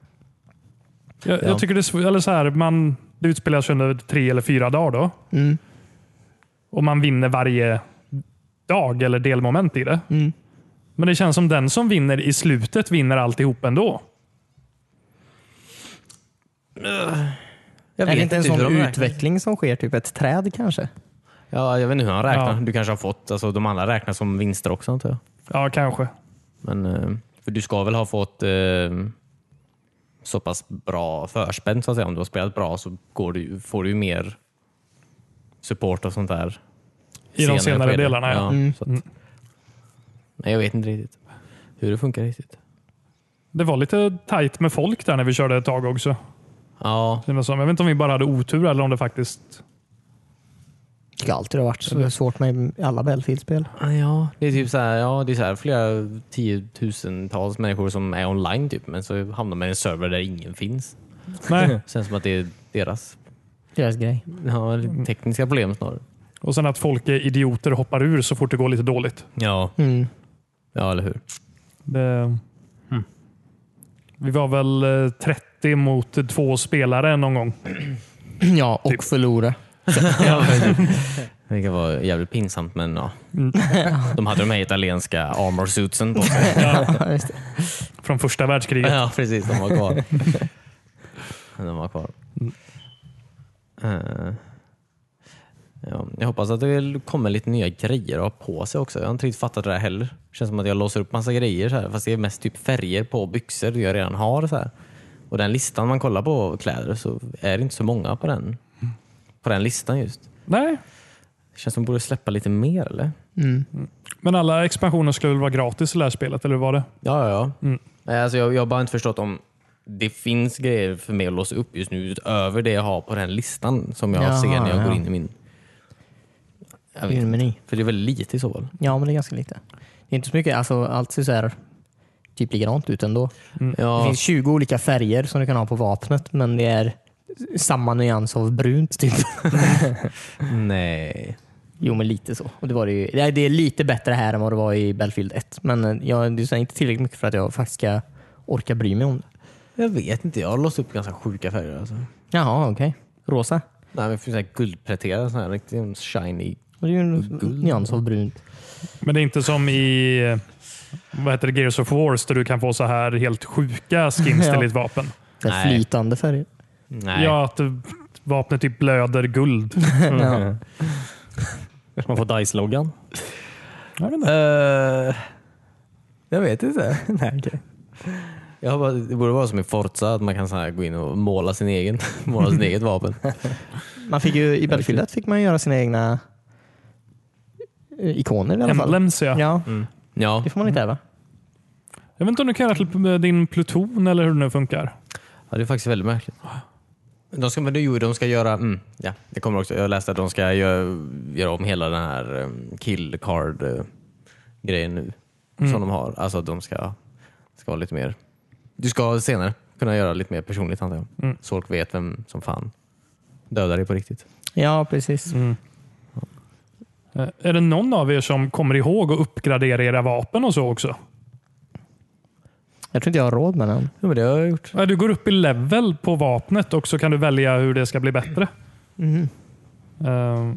S1: Jag, jag tycker det, är sv- eller så här, man, det utspelar sig under tre eller fyra dagar. då.
S2: Mm.
S1: Och man vinner varje dag eller delmoment i det.
S2: Mm.
S1: Men det känns som den som vinner i slutet vinner alltihop ändå.
S4: Jag
S2: Är det inte en sån
S4: hur de
S2: utveckling som sker? Typ ett träd kanske?
S4: räknar. Ja, jag vet inte hur han räknar.
S1: Ja.
S4: Du kanske har fått, alltså, de andra räknar som vinster också antar jag.
S1: Ja, kanske.
S4: Men, eh, för du ska väl ha fått eh, så pass bra förspänn så att säga. Om du har spelat bra så går du, får du ju mer support och sånt där.
S1: I de senare
S4: skeden.
S1: delarna, ja. Mm.
S4: så att, nej, jag vet inte riktigt hur det funkar riktigt.
S1: Det var lite tajt med folk där när vi körde ett tag också.
S4: Ja,
S1: Det var så- Jag vet inte om vi bara hade otur eller om det faktiskt...
S2: Det tycker alltid det har varit så svårt med alla Battlefield-spel.
S4: ja det är typ så här, ja, det är så här flera tiotusentals människor som är online typ, men så hamnar man i en server där ingen finns.
S1: Nej.
S4: Känns som att det är deras Mm.
S2: Deras grej.
S4: ja, eller tekniska problem snarare.
S1: Och sen att folk är idioter och hoppar ur så fort det går lite dåligt.
S4: Ja,
S2: Mm.
S4: ja eller hur?
S1: Det... Vi var väl eh, 30 mot två spelare någon gång.
S2: Ja, och förlora.
S4: Vilket var jävligt pinsamt men ja. De hade de här italienska armor suitsen på sig.
S2: Just det.
S1: Från första världskriget.
S4: Ja, precis. De var kvar. Mm. de var kvar. Eh, ja, jag hoppas att det kommer lite nya grejer att ha på sig också. Jag har inte riktigt fattat det här heller. känns som att jag låser upp massa grejer så här, fast det är mest typ färger på byxor jag redan har. Så här. Och den listan man kollar på kläder så är det inte så många på den, på den listan just.
S1: Nej,
S4: Det känns som att de borde släppa lite mer eller?
S1: men alla expansioner skulle väl vara gratis i det här spelet, eller hur var det?
S4: Ja, ja, ja.
S2: Mm.
S4: Nej, Alltså, jag, jag har bara inte förstått om det finns grejer för mig att låsa upp just nu utöver det jag har på den listan som jag
S2: Jaha,
S4: ser när jag
S2: ja.
S4: går in i min... Jag vet
S2: Din
S4: inte.
S2: meny.
S4: För det är väl lite i så fall?
S2: Ja, men det är ganska lite. Det är inte så mycket. Alltså, allt ser så här typ likadant ut ändå. Det
S4: Ja,
S2: Mm. finns 20 olika färger som du kan ha på vapnet, men det är samma nyans av brunt. Typ.
S4: nej.
S2: Jo, men lite så. Och det, var det, ju, Nej, det är lite bättre här än vad det var i Battlefield 1, men eh, jag, det är så här inte tillräckligt mycket för att jag faktiskt ska orka bry mig om det.
S4: Jag vet inte. Jag har låst upp ganska sjuka färger. Alltså.
S2: Jaha, okej. Rosa.
S4: Nej, men för så här guldpläterad, sån här riktigt shiny.
S2: Och det är ju en nyans av brunt.
S1: Men det är inte som i eh, vad heter det, Gears of Wars där du kan få så här helt sjuka skins till
S2: Ja.
S1: ditt vapen.
S2: Det är
S4: Nej.
S2: flytande färger.
S4: Nej.
S1: Ja, att eh, vapnet typ blöder guld.
S3: Mm.
S2: Ja.
S3: Man får Dice-loggan.
S1: Jag vet inte.
S4: Eh, jag vet inte.
S3: Nej, okay.
S4: Jag har bara, det borde vara som i Forza, att man kan så här gå in och måla sin egen, måla sin eget vapen.
S2: Man fick ju, I Battlefield 1 fick man göra sina egna eh, ikoner i alla fall.
S1: Emblems ja.
S2: Ja,
S4: Ja,
S2: det får man inte äva.
S1: Jag vet inte om du kan göra till eh, din pluton eller hur det nu funkar.
S4: ja det är faktiskt väldigt märkligt. De ska, men det, jo, de ska göra, mm, ja, det kommer också, jag läste att de ska göra, göra om hela den här um, kill card eh, grejen nu som de har. Alltså att de ska, ska vara lite mer, du ska senare kunna göra lite mer personligt antar jag.
S1: Mm.
S4: Så folk vet vem som fan dödar dig på riktigt.
S2: Ja, precis.
S1: Eh, Är det någon av er som kommer ihåg att uppgradera era vapen och så också?
S2: Jag tror inte jag har råd med den.
S4: Ja, men det har jag gjort.
S1: Ja, Du går upp i level på vapnet och så kan du välja hur det ska bli bättre. Eh,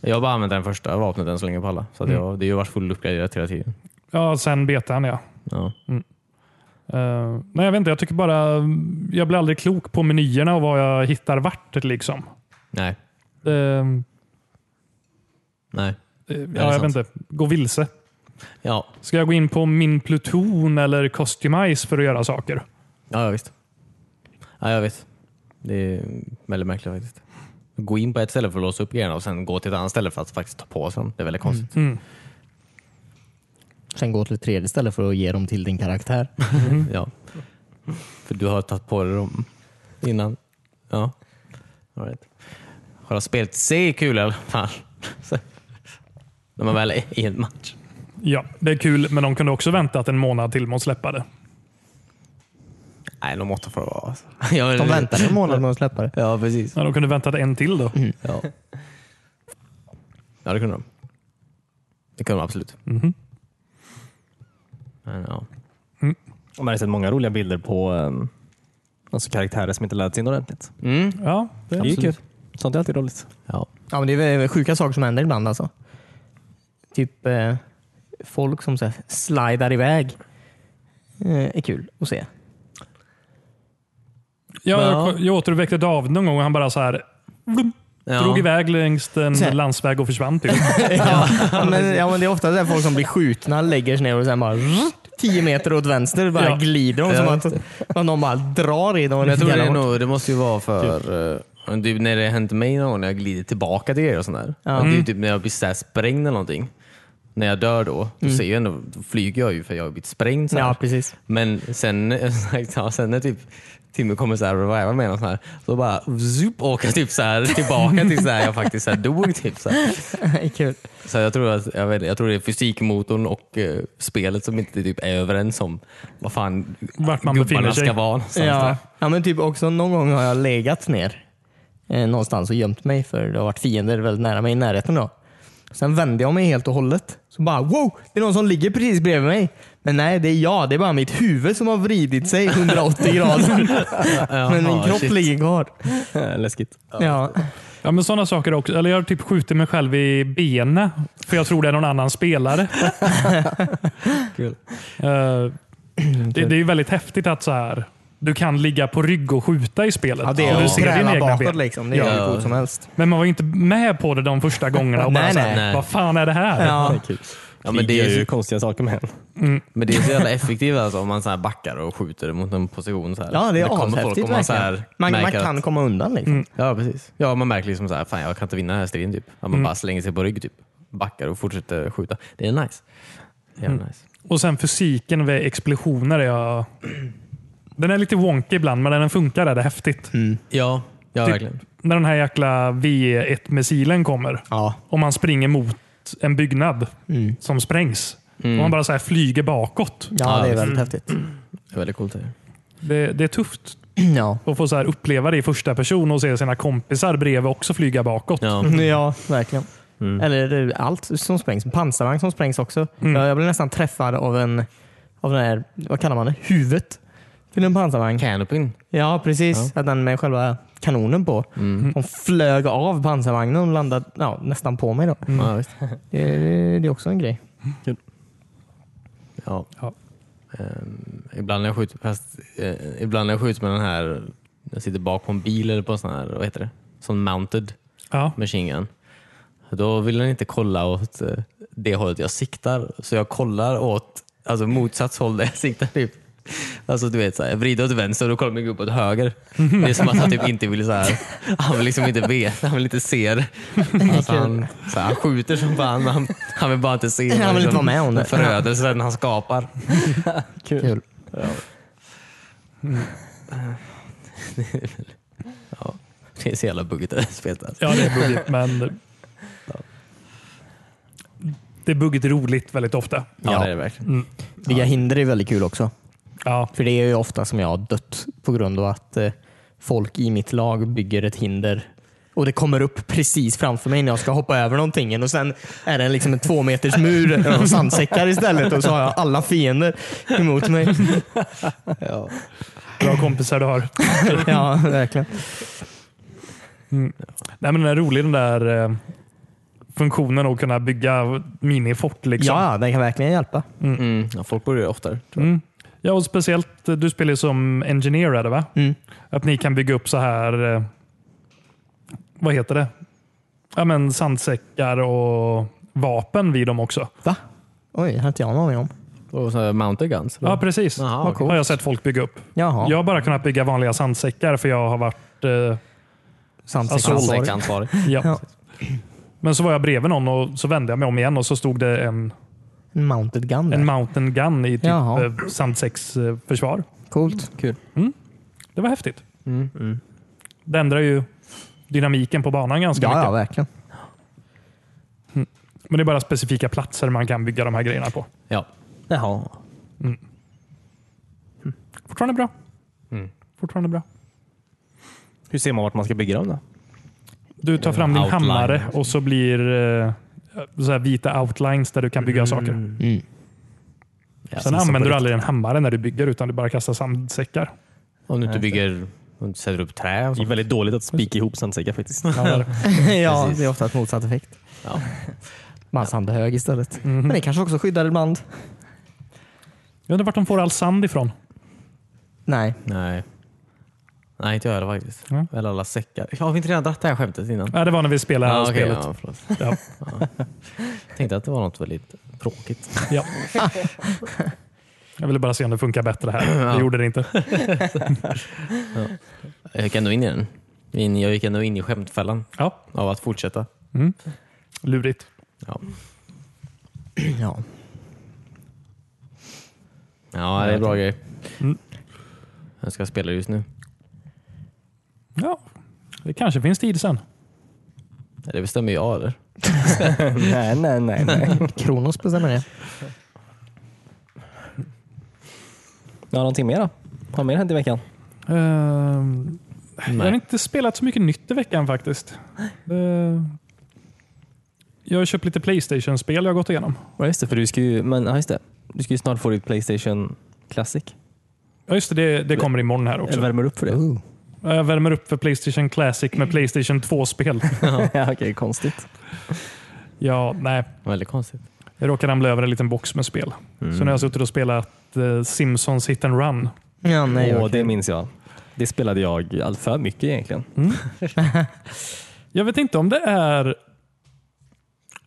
S4: Jag har bara använt den första vapnet än så länge på alla. Så att jag, det har ju varit fullt uppgraderat hela tiden.
S1: ja, sen betan ja.
S4: Ja.
S1: Eh, nej, jag vet inte. Jag tycker bara... Jag blir aldrig klok på menyerna och vad jag hittar vart. Liksom.
S4: Nej.
S1: Eh, eh,
S4: Nej.
S1: ja, jag vet
S4: sant.
S1: inte. Gå vilse.
S4: Ja,
S1: Ska jag gå in på min pluton eller customize för att göra saker?
S4: ja ja, visst. Ja, jag vet. Det är väldigt märkligt faktiskt. Gå in på ett ställe för att låsa upp grejerna och sen gå till ett annat ställe för att faktiskt ta på sig dem. Det är väldigt konstigt.
S2: Sen gå till ett tredje ställe för att ge dem till din karaktär.
S4: Ja. För du har tagit på dig dem innan. Ja. All right. Har du spelat C är kul i alla fall. Så. När man väl är i en match.
S1: Ja, det är kul, men de kunde också väntat en månad till med att släppa det.
S4: Nej, de måste få vara. Alltså. Ja,
S2: De
S4: det-
S2: väntar en månad med att släppa det.
S4: Ja, precis.
S1: Ja, de kunde väntat en till då.
S4: Ja. ja, det kunde de. Mhm. Det kunde de absolut. Men, ja.
S3: Man har sett många roliga bilder på um, alltså karaktärer som inte laddats in ordentligt.
S4: Mm.
S1: Ja,
S3: Det är ju kul. Sånt är alltid roligt.
S4: Ja.
S2: Ja, men det är väl sjuka saker som händer ibland alltså. Typ eh, folk som så här, slidar iväg. Eh, är kul att se.
S1: Ja,
S4: Ja.
S1: jag, jag återuppväckte David någon gång och han bara så här vroom,
S4: Ja.
S1: drog iväg längs en
S2: Så här.
S1: landsväg och försvann. Typ.
S2: Ja, men, ja, men det är ofta så här folk som blir skjutna, lägger sig ner och sen bara tio meter åt vänster bara
S1: Ja.
S2: glider de. Som
S4: Ja.
S2: att, att någon bara drar i dem. och
S4: Men jag tror det,
S2: jävla
S4: är
S2: hårt.
S4: nog, det måste ju vara för... eh, typ när det hänt mig någon gång när jag glider tillbaka till er och sånt där.
S2: Ja.
S4: Det är ju typ när jag blir så här sprängd eller någonting. När jag dör då, då, ser jag ändå, då flyger jag ju för jag har blivit sprängd. Så här.
S2: Ja, precis.
S4: Men sen, ja, sen när typ Timmy kommer så här och revivar mig och så, här, så bara zoop, åker jag typ så här, tillbaka till så här, jag faktiskt så här, dog. Typ, så här.
S2: Det är kul.
S4: Så jag tror, att, jag, vet, jag tror det är fysikmotorn och eh, spelet som inte typ är överens om vad fan
S1: Vart man befinner
S4: gubbarna
S1: sig.
S4: ska vara någonstans.
S2: Ja.
S4: där.
S2: ja, men typ också någon gång har jag legat ner eh, någonstans och gömt mig för det har varit fiender väldigt nära mig i närheten. Då. Sen vände jag mig helt och hållet. Så bara wow, det är någon som ligger precis bredvid mig. Men nej, det är jag. Det är bara mitt huvud som har vridit sig 180 grader. men min
S4: Jaha,
S2: kropp
S4: shit.
S2: ligger kvar.
S3: Eh, Läskigt.
S2: Ja.
S1: Ja, men sådana saker också. Eller jag har typ skjutit mig själv i benen för jag tror det är någon annan spelare.
S4: Kul.
S1: Eh, det, det är ju väldigt häftigt att så här, du kan ligga på rygg och skjuta i spelet.
S2: ja, det
S1: Och
S2: är
S1: du
S2: att
S1: ser dina
S2: träna
S1: egna
S2: bakåt
S1: ben.
S2: liksom. Det är
S4: Ja.
S2: hur coolt som helst.
S1: Men man var ju inte med på det de första gångerna. Och bara
S2: Nej,
S1: så här,
S4: nej.
S1: Vad fan är det här?
S2: Ja.
S3: Det är kul.
S4: Ja, men det är
S3: ju
S4: ju,
S3: konstiga saker med en.
S4: men det är så jävla effektivt alltså, om man så här backar och skjuter mot en position. Så här.
S2: Ja, det är
S4: kommer folk
S2: ashäftigt
S4: och man, så
S2: verkligen.
S4: här,
S2: Man, man
S4: märker
S2: kan
S4: Att, Mm.
S2: komma undan liksom.
S4: ja, precis. Ja, man märker liksom så här, fan jag kan inte vinna den här striden. Typ. Ja, man
S2: Mm.
S4: bara slänger sig på rygg, typ. backar och fortsätter skjuta. Det är nice. Det
S2: Mm.
S4: är nice.
S1: Och sen fysiken vid explosioner. Är jag... Den är lite wonky ibland, men när den funkar är det häftigt.
S2: Mm.
S4: Ja, ja
S1: Typ-
S4: verkligen.
S1: När den här jäkla V1-missilen kommer
S2: Ja.
S1: och man springer mot en byggnad som sprängs. Och man bara så här flyger bakåt.
S2: Mm. ja, det är
S4: visst.
S2: väldigt häftigt.
S4: Det är väldigt coolt. det.
S1: Det, det är tufft
S4: Mm.
S2: Ja,
S1: att få så här uppleva det i första person och se sina kompisar bredvid också flyga bakåt.
S4: Ja.
S2: Mm. ja verkligen. Eller allt som sprängs. Pansarvagn som sprängs också. Jag, jag blev nästan träffad av en av den här, vad kallar man det, huvudet. till en pansarvagn.
S4: Canopyn.
S2: Ja, precis. Att den med själva kanonen på. De flög av pansarvagnen och landade ja, nästan på mig. Då.
S4: Ja, visst.
S2: Det, det, det är också en grej.
S4: Ja.
S1: Ja.
S4: Ehm, ibland när jag skjuter, fast, eh, ibland när jag skjuter med den här, jag sitter bak på en bil eller på en sån här, vad heter det? Sån mounted
S1: Ja.
S4: machine gun. Då vill den inte kolla åt eh, det hållet jag siktar. Så jag kollar åt alltså motsatt håll där jag siktar. Typ. Alltså du vet, så här, jag vrider åt vänster och då kollar min gubbe åt höger. Det är som att han typ inte vill så här, han vill liksom inte veta, han vill inte se det. Alltså, han, så här, han skjuter som fan men han, han vill bara inte se. liksom
S2: Han vill inte vara med om det.
S4: Förödelsen han skapar.
S3: Kul.
S2: Kul.
S4: Det är så jävla buggigt det här spelet. alltså.
S1: Ja, det är buggigt, men... Det är buggigt roligt väldigt ofta.
S4: Ja,
S2: Ja.
S4: det är det verkligen.
S2: Vilka hinder är väldigt kul också.
S1: Ja,
S2: För det är ju ofta som jag har dött på grund av att eh, folk i mitt lag bygger ett hinder och det kommer upp precis framför mig när jag ska hoppa över någonting och sen är det liksom en två meters mur av sandsäckar istället och så har jag alla fiender emot mig.
S4: Ja.
S1: bra kompisar du har.
S2: Ja, verkligen.
S1: Nej, men den är rolig den där eh, funktionen att kunna bygga minifort. Liksom.
S2: Ja, den kan verkligen hjälpa.
S4: Mm. Ja, folk borde göra det oftare.
S1: Mm. Ja, och speciellt, eh, du spelar ju som engineer, är det va?
S2: Mm.
S1: Att ni kan bygga upp så här, eh, vad heter det? Ja, men sandsäckar och vapen vid dem också.
S2: Va? Oj, det hade inte jag någon aning om.
S4: Och så här mounted guns.
S1: Ja, precis.
S4: Jaha,
S1: Vad
S4: okej.
S1: Har jag sett folk bygga upp.
S2: Jaha,
S1: Jag har bara kunnat bygga vanliga sandsäckar för jag har varit... Eh,
S4: alltså
S2: sandsäcksansvarig.
S4: Sexansvarig.
S1: ja.
S2: Ja.
S1: Men så var jag bredvid någon och så vände jag mig om igen och så stod det en,
S2: En mounted gun.
S1: en
S2: Där.
S1: mountain gun i typ
S2: Jaha.
S1: eh, sandsäcksförsvar.
S2: Coolt.
S4: Kul.
S1: Det var häftigt.
S2: Mm.
S1: Det ändrar ju dynamiken på banan ganska
S2: Ja, ja,
S1: mycket.
S2: verkligen.
S1: Men det är bara specifika platser man kan bygga de här grejerna på.
S4: Ja.
S2: Jaha.
S1: Fortfarande bra. Fortfarande bra.
S3: Hur ser man vart man ska bygga dem då?
S1: Du tar fram din
S4: Outline.
S1: hammare och så blir eh, så här vita outlines där du kan bygga saker.
S4: Mm. Ja,
S1: Sen använder du aldrig en hammare när du bygger utan du bara kastar sandsäckar.
S4: Om du inte bygger, om du inte sätter upp trä och
S3: Det är
S4: sånt.
S3: väldigt dåligt att spika ihop sandsäckar faktiskt.
S1: Ja, där.
S2: ja,
S4: Precis.
S2: det är ofta ett motsatt effekt.
S4: Ja.
S2: Man sandhög istället. Men det kanske också skyddar ibland.
S1: Jag undrar vart de får all sand ifrån.
S2: Nej.
S4: Nej. Nej, inte jag heller faktiskt.
S1: Ja.
S4: Eller alla säckar. Har vi inte redan dragit det här skämtet innan?
S1: Ja, det var när vi spelade det här
S4: Ah, okej,
S1: spelet.
S4: ja, förlåt.
S1: Ja.
S4: Jag tänkte att det var något väldigt tråkigt.
S1: Ja. Jag ville bara se om det funkar bättre här. Det gjorde det inte.
S4: Jag gick ändå in i den. In- Jag gick ändå in i skämtfällan
S1: Ja,
S4: av att fortsätta.
S1: lurigt.
S4: Ja,
S2: Ja.
S4: ja det är bra grej. Jag ska spela just nu.
S1: Ja, det kanske finns tid sen.
S4: Det bestämmer jag eller?
S3: nej, nej, nej. nej.
S2: Kronos bestämmer det.
S3: Ja, någonting mer då? Har mer hänt i veckan?
S1: Ehm, jag har
S4: Nej.
S1: inte spelat så mycket nytt i veckan faktiskt. Ehm, jag har köpt lite Playstation-spel jag har gått igenom.
S3: Ja, just det. För du ska ju, men, ja, just det. Du ska ju snart få ditt Playstation Classic.
S1: Ja, just det, det, det kommer imorgon här också.
S3: Jag värmer upp för det.
S1: Ja, Jag värmer upp för Playstation Classic med Playstation 2-spel.
S3: ja, Okej, konstigt.
S1: Ja, nej.
S4: Väldigt konstigt.
S1: Jag råkade ramla över en liten box med spel. Så nu har jag suttit och spelat eh, Simpsons Hit and Run.
S2: Ja, nej.
S3: Åh,
S2: okej.
S3: det minns jag. Det spelade jag all för mycket egentligen.
S1: Jag vet inte om det är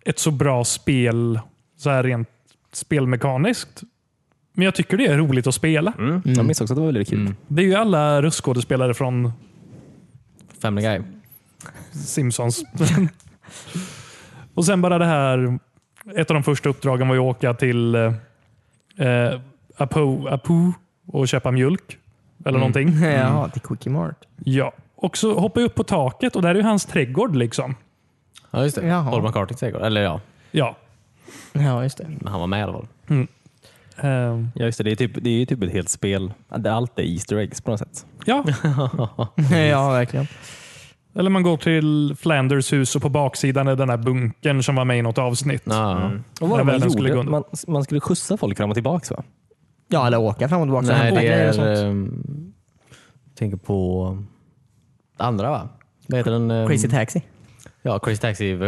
S1: ett så bra spel så här rent spelmekaniskt. Men jag tycker det är roligt att spela.
S3: Jag minns också att det var väldigt kul.
S1: Det är ju alla röstskådespelare från
S4: Family Guy.
S1: Simpsons. och sen bara det här. Ett av de första uppdragen var ju att åka till eh, Apo, Apu och köpa mjölk. Eller någonting.
S2: Jaha, till Quickie Mart.
S1: Ja. Och så hoppar jag upp på taket och där är ju hans trädgård. liksom.
S4: Ja, just det.
S2: Jaha.
S4: Paul McCartney säkert. Eller ja,
S1: Ja.
S2: Ja, just det.
S4: men han var med i alla fall.
S1: Eh,
S3: Ja, just det. Det är, typ, det är ju typ ett helt spel. Att det- Allt är Easter eggs på något sätt.
S1: ja.
S2: ja, verkligen.
S1: Eller man går till Flanders hus och på baksidan är den där bunkern som var med i något avsnitt.
S4: Ja.
S2: Mm.
S3: Och
S1: När
S3: vad man,
S1: världen skulle gå
S3: gjorde,
S1: under.
S3: man, man skulle skjutsa folk fram och tillbaka va?
S2: Ja, eller åka fram och tillbaka. och
S4: Nej,
S2: hämta
S4: det
S2: grejer och sånt.
S4: är... ehm, tänker på ehm, andra va? Vad heter den? ehm,
S2: Crazy Taxi.
S4: Ja, Crazy Taxi. eh, eh,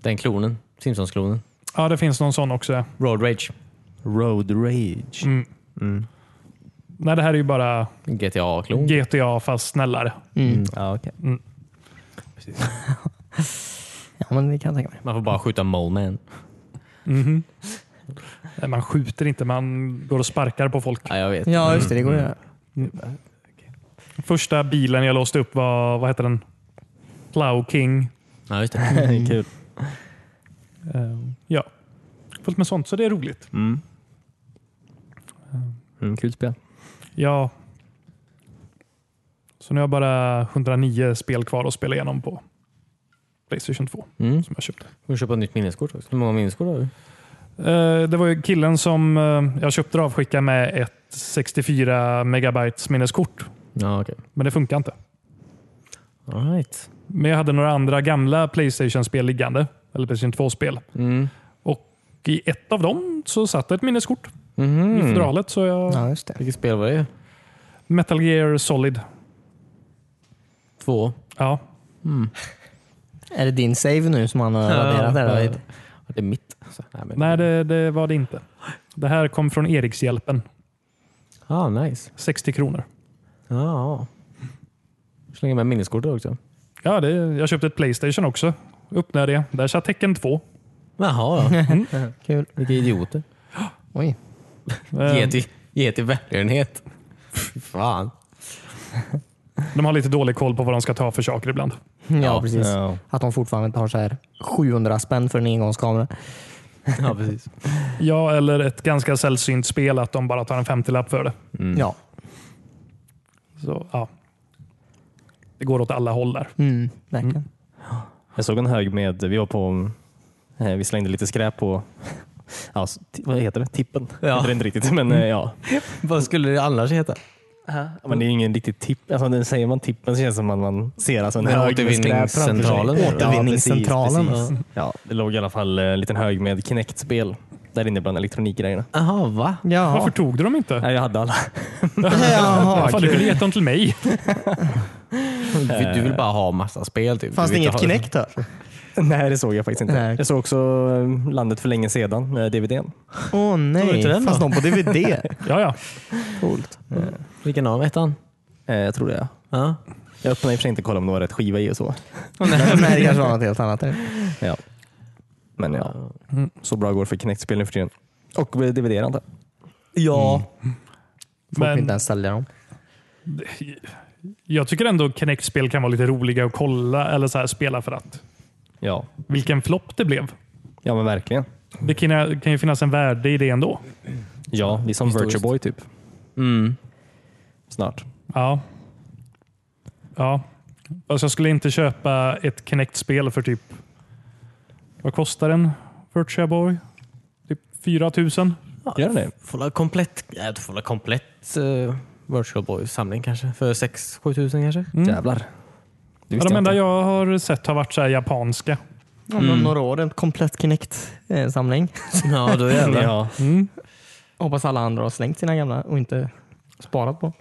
S4: Den klonen. Simpsons-klonen.
S1: Ja, det finns någon sån också.
S4: Road Rage.
S3: Road Rage.
S1: Mm. Nej, det här är ju bara
S4: GTA-klon.
S1: GTA fast snällare.
S2: Mm.
S3: Ja, okej.
S2: Ja, men det kan jag tänka mig.
S4: Man får bara skjuta Mole Man.
S1: Mhm. Nej, man skjuter inte, man går och sparkar på folk.
S4: Ja, jag vet.
S2: Ja, just det. Det går ju.
S1: Första bilen jag låste upp var, vad heter den? Plow King.
S4: Ja, just
S2: Mm.
S4: det.
S3: Kul.
S1: Eh, Ja, fullt med sånt. Så det är roligt.
S3: Mm. Mm, kul spel.
S1: Ja. Så nu har jag bara 109 spel kvar att spela igenom på Playstation 2
S4: Mm.
S1: som jag köpte.
S4: Får köpa ett nytt minneskort också. Hur många minneskort har du?
S1: Eh, Det var ju killen som eh, jag köpte avskicka med ett 64 megabytes minneskort.
S4: Ja, okej.
S1: Men det funkar inte.
S4: All right.
S1: Men jag hade några andra gamla Playstation-spel liggande. Eller Playstation 2-spel.
S4: Mm.
S1: Och I ett av dem så satt ett minneskort
S4: Mhm.
S1: i fodralet. Så jag...
S2: Ja, just det.
S4: Vilket spel var det?
S1: Metal Gear Solid.
S4: Två.
S1: Ja.
S2: Är det din save nu som han har raderat? där? eller?
S4: Ja, Det är mitt. Så, nej, men-
S1: Nej, det, det var det inte. Det här kom från Erikshjälpen.
S4: Ah, nice.
S1: 60 kronor.
S4: Ja. Slänga med minneskortet också.
S1: Ja, det, jag köpte ett Playstation också. Upp när det. Där satt Tecken 2.
S4: Jaha, ja.
S2: Kul.
S4: vilka idioter.
S2: Oj.
S1: Eh,
S4: Ge till, ge till välgörenhet. Fy Fan.
S1: De har lite dålig koll på vad de ska ta för saker ibland.
S2: Ja,
S4: Ja,
S2: precis.
S3: ja.
S2: Att de fortfarande inte har så här 700 spänn för en engångskamera.
S4: Ja, precis.
S1: Ja, eller ett ganska sällsynt spel att de bara tar en 50-lapp för det.
S2: Ja.
S1: Så, ja. Det går åt alla håll där.
S2: Mm, verkligen.
S3: Jag såg en hög med, vi var på, eh, vi slängde lite skräp på, ja, s- ti- vad heter det? Tippen?
S4: Ja.
S3: Heter det inte riktigt, men eh, ja.
S4: Vad skulle det annars heta?
S3: Men det är ju ingen riktig tipp. Alltså, när säger man tippen så känns det som att man ser alltså en
S4: Den
S3: hög med skräp framför sig.
S4: återvinningscentralen.
S2: Återvinningscentralen.
S3: Ja, precis, precis. ja, det låg i alla fall eh, en liten hög med Kinect-spel där inne bland elektronikgrejerna.
S4: Jaha, va?
S1: Varför
S2: Jaha.
S1: tog du dem inte?
S3: Nej, jag hade alla.
S2: Jaha.
S1: Fan, du kunde gett dem till mig.
S4: Du, du vill bara ha massa spel typ.
S2: Fanns
S4: Du
S2: det
S4: vill
S2: inget
S4: inte ha-
S2: Kinect här?
S3: Nej, det såg jag faktiskt inte.
S2: Nej.
S3: Jag såg också eh, Landet för länge sedan, eh, DVDn.
S2: Åh
S4: Såg du
S2: nej.
S4: inte den då?
S2: Fanns någon på DVD?
S1: Ja, ja.
S2: Coolt.
S4: Vilken av? Ettan?
S3: Eh, Jag tror det. ja.
S4: Ja.
S3: Jag öppnade i och för sig inte och kollade om det var rätt skiva i och så.
S2: Nej, det kanske var något helt annat.
S3: Ja. Men ja, så bra går det för Kinect-spel nu för tiden. Och eh, DVD antar jag.
S2: Ja. Folk Mm. vill
S1: Men-
S2: inte ens sälja dem.
S1: Jag tycker ändå Kinect-spel kan vara lite roliga att kolla eller så här, spela för att.
S3: Ja.
S1: Vilken flopp det blev.
S3: ja, men verkligen.
S1: Det kan, kan ju finnas en värde i det ändå.
S3: Ja, det är som
S4: Historiskt.
S3: Virtual Boy typ.
S4: Mm.
S3: Snart.
S1: Ja. Ja. Alltså, jag skulle inte köpa ett Kinect-spel för typ... Vad kostar en Virtua Boy? Typ 4 000?
S3: Gör det
S4: Får la komplett, nej, du får la komplett eh, Virtual Boy-samling kanske. För 6-7 tusen kanske.
S3: mm. Jävlar. Det
S1: Ja,
S3: visste
S1: de
S3: jag
S1: enda
S3: inte.
S1: jag har sett har varit så här japanska.
S2: Om mm. några år, en komplett Kinect-samling.
S4: Ja, då jävlar.
S3: Ja.
S2: Hoppas alla andra har slängt sina gamla och inte sparat på.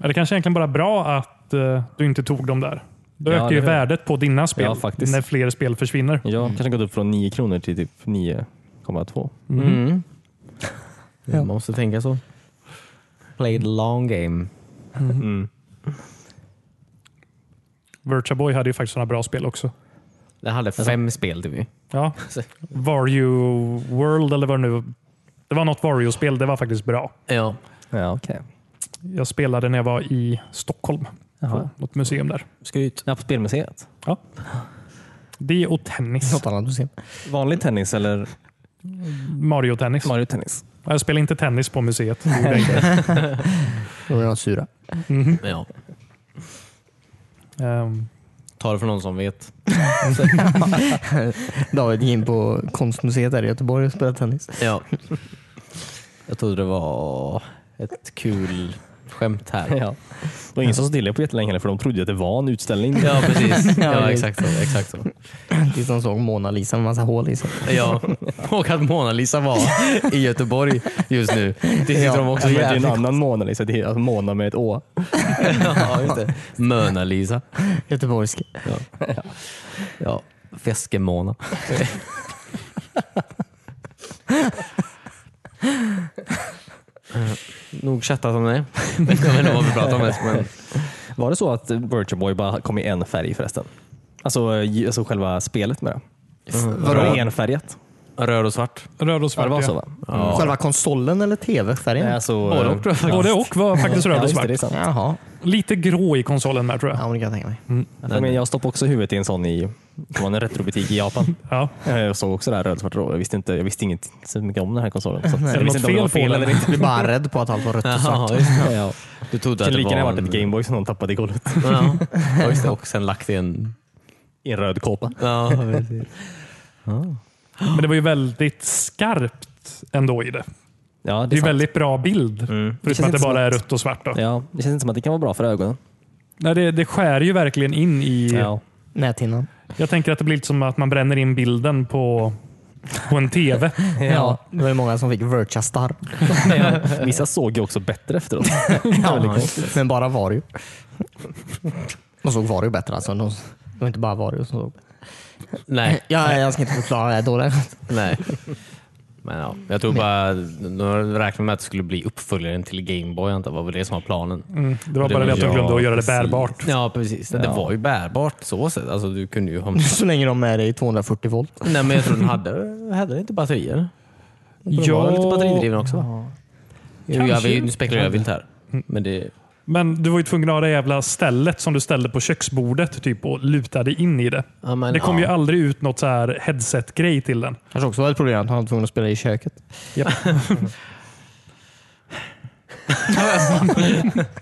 S1: Ja, det kanske egentligen bara är bra att eh, du inte tog dem där. Då
S3: Ja,
S1: ökar ju
S3: det är-
S1: värdet på dina spel
S3: Ja, faktiskt.
S1: när fler spel försvinner.
S3: Jag kanske gått upp från 9 kronor till typ 9,2.
S4: Mm.
S2: Ja.
S4: Man måste tänka så. Play the long game.
S3: Mm.
S1: Virtua Boy hade ju faktiskt sådana bra spel också.
S4: Det hade fem spel typ.
S1: Ja.
S3: Alltså.
S1: Vario World eller vad det nu Det var något Vario-spel. Det var faktiskt bra.
S4: Ja.
S3: Ja, okej.
S1: Jag spelade när jag var i Stockholm. På något museum där.
S4: Skryt.
S3: Ja, på spelmuseet.
S1: Det och tennis.
S2: Något annat du ser.
S3: Vanlig tennis eller
S1: Mario-tennis.
S3: Mario-tennis?
S1: Jag spelade inte tennis på museet. Det gjorde jag inte.
S2: Då är de sura.
S4: Ja.
S1: Ehm,
S4: Ta det från någon som vet.
S2: David gick in på konstmuseet där i Göteborg och spelade tennis.
S4: Ja. Jag trodde det var ett kul skämt här.
S3: Ja. Det var ingen som stillade på jättelänge heller, för de trodde ju att det var en utställning.
S4: Ja, precis. Ja, exakt så. Exakt så.
S2: Tills de såg Mona Lisa med massa hål i sig.
S4: Ja. Och att Mona Lisa var i Göteborg just nu. Det tyckte
S2: Ja.
S4: de också
S3: men det är en
S4: jävligt
S3: annan Mona Lisa, det är alltså Mona med ett Å.
S4: ja, just det. Möna Lisa.
S2: Göteborgsk.
S4: Ja. Feskemona. Nog chattat om det. Jag vet inte vad vi pratar om ens. Men...
S3: Var det så att Virtual Boy bara kom i en färg förresten? Alltså, eh, alltså själva spelet med det. Mm. Vadå?
S4: Röd-
S3: Enfärgat.
S4: Röd och svart.
S1: Röd och
S3: Ja,
S1: svart.
S3: det var
S1: ja.
S3: så va?
S2: Själva konsolen eller tv-färgen?
S3: Nej, Alltså,
S1: Både
S3: eh,
S1: och, tror jag. Både och var faktiskt röd
S3: ja,
S1: och
S3: just
S1: svart.
S3: det, det är sant.
S2: Jaha.
S1: Lite grå i konsolen med tror jag.
S2: Ja, men det kan jag tänka mig.
S3: Jag, men, jag stoppade också huvudet i en sån i det var en retrobutik i Japan.
S1: Ja.
S3: Eh, Jag såg också det här rödsvart och jag visste inte, jag visste inget så mycket om den här konsolen. Så att,
S1: Är
S3: jag
S1: det
S3: visste
S1: något
S3: inte om det
S1: fel
S3: var
S1: på den?
S3: fel eller inte.
S2: Jag blir bara rädd på att allt var rött och svart.
S4: Jaha, just det.
S3: Ja.
S4: Du trodde
S3: Det
S4: att
S3: kan
S4: det
S3: lika
S4: var
S3: gärna varit
S4: en...
S3: ett Gameboy som någon tappade i golvet
S4: Ja, ja, just det. Och sen lagt i en...
S3: i en röd kåpa.
S4: Ja, precis.
S1: Men det var ju väldigt skarpt ändå i det. Det
S3: Ja,
S1: är ju
S3: sant. Mm.
S1: väldigt bra bild. Förutom att
S3: inte
S1: det
S3: som
S1: bara är rött och svart. Då.
S3: Ja, det känns inte som att det kan vara bra för ögonen.
S1: Nej, det, det skär ju verkligen in i...
S3: Ja.
S2: Näthinnan.
S1: Jag tänker att det blir lite som att man bränner in bilden på, på en TV.
S2: Ja. Det var ju många som fick Virtua Star.
S3: Vissa såg ju också bättre efteråt.
S2: Ja, men bara Vario. De såg Vario bättre alltså. De, det var inte bara Vario som såg bättre.
S4: Nej,
S2: Ja, jag ska inte förklara det här dåligt.
S4: nej. Men ja, jag tror bara... De räknade med att det skulle bli uppföljaren till Gameboy. antar jag. Det var väl det som var planen.
S1: Mm, det var
S4: Det
S1: bara det att de
S4: ja,
S1: glömde att göra det
S4: precis.
S1: bärbart.
S4: Ja, precis. Det var ju bärbart så sett. Alltså, du kunde ju ha...
S2: Så länge de är i 240 volt.
S4: Nej, men jag tror den hade, hade inte batterier. Den var lite
S1: Ja,
S4: batteridriven också va? Jo, jag
S1: Kanske.
S4: vill, nu spekulerar jag vilt här. Men det...
S1: men du var ju tvungen att ha det jävla stället som du ställde på köksbordet typ, och lutade in i det.
S4: Ja, men,
S1: Det kom
S4: ja.
S1: ju aldrig ut något så här headset-grej till den.
S2: Kanske också var ett problem att han var tvungen att spela i köket.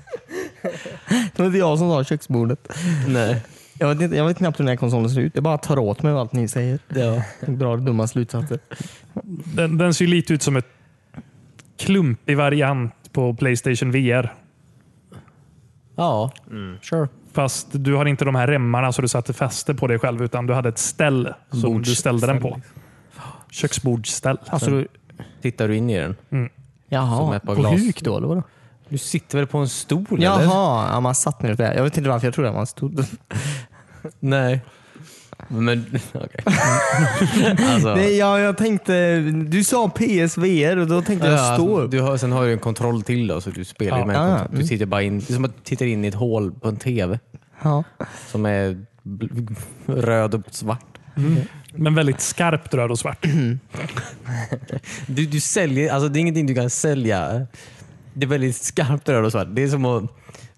S2: Det var inte jag som sa köksbordet.
S4: Nej.
S2: Jag vet, inte, jag vet knappt hur den här konsolen ser ut. Jag bara tar åt mig av allt ni säger.
S4: Ja.
S2: Och drar dumma slutsatser.
S1: Den, den ser ju lite ut som ett klumpig variant på Playstation VR.
S4: ja.
S2: Mm.
S4: Sure.
S1: Fast du har inte de här remmarna så du satte fäste på dig själv, utan du hade ett ställ som du ställde den på. Köksbordsställ.
S2: Alltså, du,
S4: Tittar du in i den? Som
S2: jaha,
S4: ett par
S2: på
S4: glas.
S2: huk då eller vadå?
S4: Du sitter väl på en stol eller?
S2: Jaha, ja, man satt ner där. Jag vet inte varför jag trodde att man stod.
S4: Nej. Men okej. alltså,
S2: Nej, ja, jag tänkte, du sa PSVR och då tänkte
S4: ja, alltså,
S2: jag stå upp.
S4: du har, sen har du en kontroll till då, så du spelar ju
S1: Ja.
S4: med en
S2: Ja, Ah, mm. ja.
S4: kontroll. Du sitter bara in, det är som att du tittar in i ett hål på en TV
S2: Ja.
S4: som är bl- röd och svart.
S1: Men väldigt skarpt röd och svart.
S4: Du, du säljer, alltså det är ingenting du kan sälja. Det är väldigt skarpt röd och svart. Det är som att,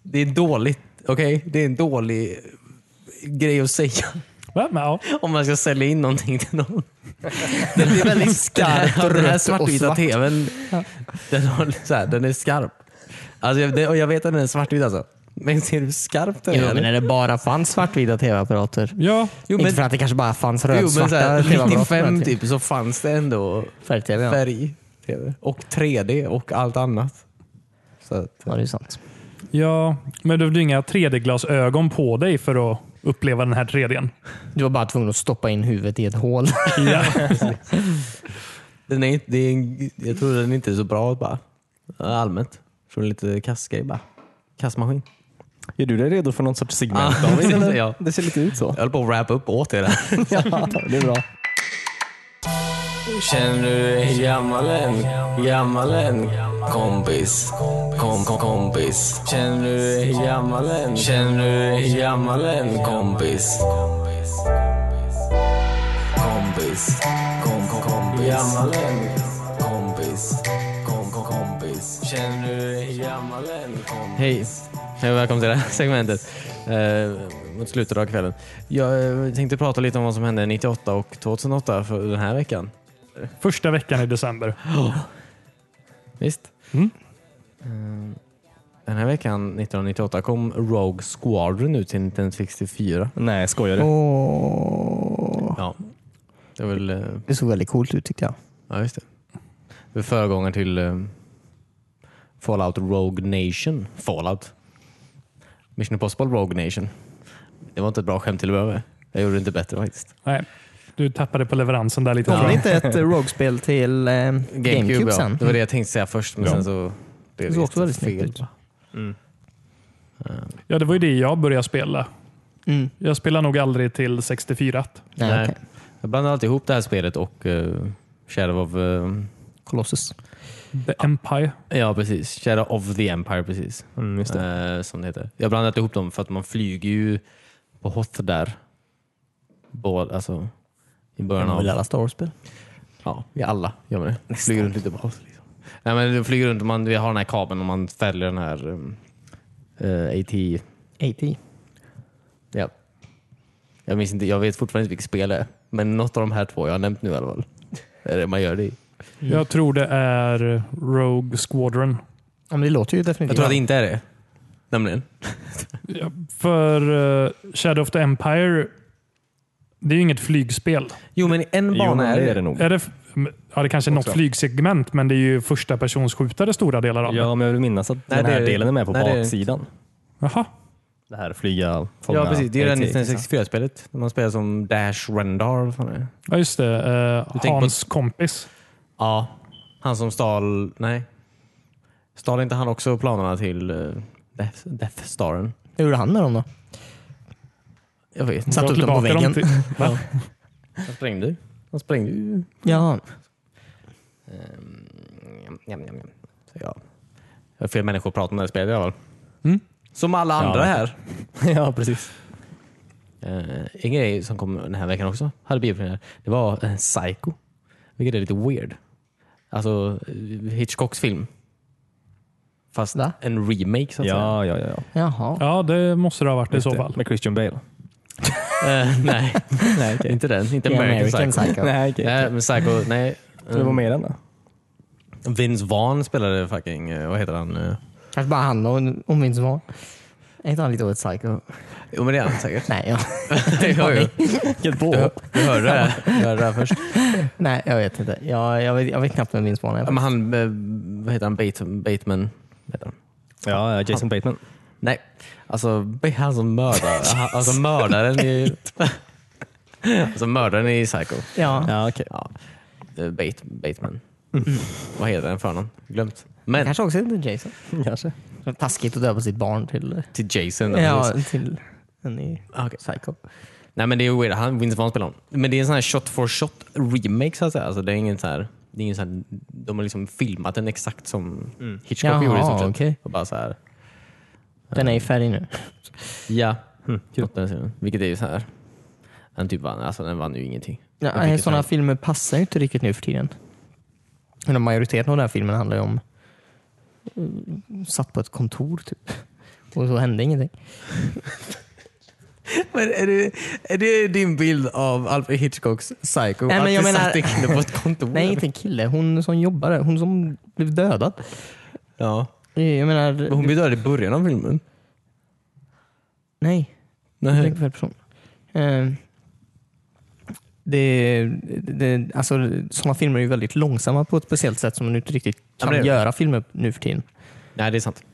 S4: det är dåligt, okej? Det är en dålig grej att säga
S1: Va? Men, ja.
S4: om man ska sälja in någonting till någon.
S2: Det är väldigt
S4: skarpt och Den här
S2: rött och
S4: svartvita
S2: svart.
S4: tvn, den, har, så här, den är skarp. Alltså, jag, det, och jag vet att den är svartvit alltså. Men ser du skarpt den
S2: Jo,
S4: är?
S2: men när det bara fanns svartvita tv-apparater.
S1: ja.
S4: Jo
S2: Inte
S4: men,
S2: för att det kanske bara fanns
S4: jo, men så
S2: rödsvarta
S4: här,
S2: tv-apparater.
S4: 95
S2: men
S4: typ så fanns det ändå
S2: Färg-tv, ja.
S4: färg-tv. Och 3D och allt annat. Så att,
S2: Ja, det är sant.
S1: ja. Men du hade ju inga 3D-glasögon på dig för att uppleva den här 3Dn.
S2: Du var bara tvungen att stoppa in huvudet i ett hål.
S1: Ja.
S4: den är, inte- det är, en- jag tror den inte är så bra bara. allmänt. Jag tror den är lite kassgrej bara. Kassmaskin.
S3: Är du dig redo för någon sorts segment?
S4: Ja,
S3: David, eller?
S4: ja.
S3: Det ser lite ut så.
S4: Jag höll på att wrap upp åt er där.
S3: Ja, det är bra.
S6: Känner du dig gammal än? Gammal än? Kompis, kom, kom, kompis. Känner du dig gammal än? Känner du dig gammal än? Kompis. Kompis, kom, kom, kompis. Gammal än? Kompis, kom, kom, kompis. Känner du dig gammal än? Kompis.
S4: Hej Hej och välkommen till det här segmentet eh, mot slutet av kvällen. Jag eh, tänkte prata lite om vad som hände 98 och 2008 för den här veckan.
S1: Första veckan i december.
S4: Visst?
S1: Mm.
S4: Eh, Den här veckan 1998 kom Rogue Squadron ut till Nintendo 64.
S3: Nej, skojar du?
S2: Åh.
S4: Ja, det var väl... eh,
S2: Det såg väldigt coolt ut tyckte jag.
S4: Ja, just det. Det var föregångaren till eh, Fallout Rogue Nation. Fallout. Mission Impossible Rogue Nation. Det var inte ett bra skämt till att börja med. Jag gjorde det inte bättre faktiskt.
S1: Nej, du tappade på leveransen där lite.
S2: Kom
S1: tror
S2: det
S1: jag.
S2: inte ett eh, Rogue-spel till eh, GameCube,
S4: ja.
S2: sen?
S4: Det var det jag tänkte säga först, men
S3: Ja.
S4: sen så... blev
S2: Det såg också väldigt snyggt
S4: fel.
S2: ut.
S1: Ja, det var ju det jag började spela.
S2: Mm.
S1: Jag spelade nog aldrig till 64.
S2: Nej,
S4: Nej.
S2: okej.
S4: Jag blandar alltid ihop det här spelet och eh, Shadow of... eh,
S2: Colossus.
S1: The Empire.
S4: ja, precis. Shadow of the Empire, precis.
S3: Mm, just det.
S4: Eh, som det heter. Jag blandat ihop dem för att man flyger ju på hot där. Både, alltså, I början
S2: Väl
S4: av...
S2: alla Star Wars-spel.
S4: Ja, vi alla gör man det. Flyger runt lite på hot. Liksom. Nej, men du flyger runt och man, vi har den här kabeln och man fäller den här um, eh, AT...
S2: AT.
S4: Ja. Jag, minns inte, jag vet fortfarande inte vilket spel det är, men något av de här två jag har nämnt nu i alla fall. Det är det man gör det i.
S1: Jag tror det är Rogue Squadron.
S2: Ja, men det låter ju definitivt.
S4: Jag tror att det inte är det. Nämligen.
S1: Ja, För eh, Shadow of the Empire, det är ju inget flygspel.
S4: Jo, men en
S3: Jo,
S4: bana
S3: men
S4: är
S3: det
S4: det.
S3: är det nog.
S1: Är det, f- ja, det kanske är något
S3: Också.
S1: flygsegment, men det är ju första persons skjutare stora delar av det.
S3: Ja, men jag vill minnas att
S4: Nej,
S3: den här
S4: det är-
S3: delen är med på
S4: nej, det är-
S3: baksidan.
S1: Jaha.
S3: Det här flyga, fånga,
S4: Ja, precis. Det är det
S3: AT.
S4: 1964-spelet. När man spelar som Dash Rendar. vad fan är det?
S1: Ja, just det. Eh,
S4: tänker på-
S1: Hans kompis.
S4: Ja. Han som stal... Nej. Stal inte han också planerna till eh, Death, Death Staren?
S2: Hur gjorde han med dem då?
S4: Jag vet inte.
S2: Satt
S1: Dra
S2: ut dem på
S1: tillbaka
S2: väggen.
S1: till- Va?
S4: Han sprängde ju. Han sprängde ju.
S2: Ja,
S4: Jam, Ehm, jam, jam, jam. Så, ja. Jag har fel människor att prata om det här spelet i alla fall.
S1: Mm.
S4: Som alla andra
S3: Ja.
S4: här.
S3: ja, precis.
S4: Eh, en grej som kom den här veckan också, hade biopremiär, det var eh, Psycho. Vilket är lite weird. Alltså eh, Hitchcocks film. Fast
S2: Va?
S4: en remake så att
S3: Ja, ja, ja.
S2: jaha.
S1: Ja, det måste det ha varit i så
S3: Just det.
S1: fall.
S3: Med Christian Bale.
S4: säga. Eh, nej,
S3: nej, okej.
S4: inte den. Inte
S2: Ja,
S4: American,
S2: American
S4: Psycho.
S2: Psycho.
S3: Nej, okej.
S4: Nej, men Psycho, nej. Eh,
S3: Ska vi vara med i den då?
S4: Vince Vaughn spelade fucking, eh, vad heter han? Eh,
S2: Kanske bara handla om, om Vince Vaughn. Är inte han lite av ett psycho?
S4: Jo men det är han säkert.
S2: Nej, jag,
S4: Jo, jo.
S3: Vilket
S4: Du, du hörde det här. Du hörde det här först.
S2: nej, jag vet inte. Jag, jag, vet, jag vet knappt vem Vince Vaughn är.
S4: Ja, Men han, eh, vad heter han, Bateman? Bateman heter han.
S3: Ja, ja, Jason Bateman.
S4: Nej, alltså be- han som mördar. han- Alltså mördaren i... alltså mördaren i Psycho.
S2: Ja, Mm.
S3: Ja, okej.
S4: Ja. eh, Bate, Bateman. Vad heter den för någon? Glömt. Men
S2: kanske också heter Jason.
S3: Kanske.
S2: Taskigt att döpa sitt barn till,
S4: till Jason. då,
S2: ja,
S4: precis.
S2: till en i
S4: Ah, Okej.
S2: psycho.
S4: Nej men det är weird. Han Vince Vaughn spelar honom. Men det är en sån här shot for shot remake så att säga. Alltså, det är ingen så här, det är ingen så här, de har liksom filmat den exakt som Hitchcock
S2: Mm. Jaha,
S4: gjorde. i stort sett.
S2: okej.
S4: Och bara så här,
S2: Den är i färg nu.
S4: ja.
S2: Hm,
S4: Något den serien. Vilket är ju så här. Den typ vann, alltså den vann ju ingenting.
S2: Ja,
S4: Jag tycker
S2: nej, sådana
S4: att-
S2: filmer passar ju inte riktigt nu för tiden. Men om majoriteten av den här filmen handlar ju om mm, satt på ett kontor typ. Och så hände ingenting.
S4: Men är det, är det din bild av Alfred Hitchcocks Psycho?
S2: men
S4: att
S2: jag
S4: det
S2: menar-
S4: satt en kille på ett kontor?
S2: Nej, inte en kille. Hon som jobbade. Hon som blev dödad.
S4: Ja.
S2: Eh, Jag menar...
S4: Men Hon blir död i början av filmen.
S2: Nej, jag
S4: Nej.
S2: tänker fel person. Eh, Det, det, alltså, sådana filmer är ju väldigt långsamma på ett speciellt sätt som man inte riktigt
S4: Ja,
S2: kan
S4: men det-
S2: göra filmer nu för tiden.
S4: Nej, det är sant.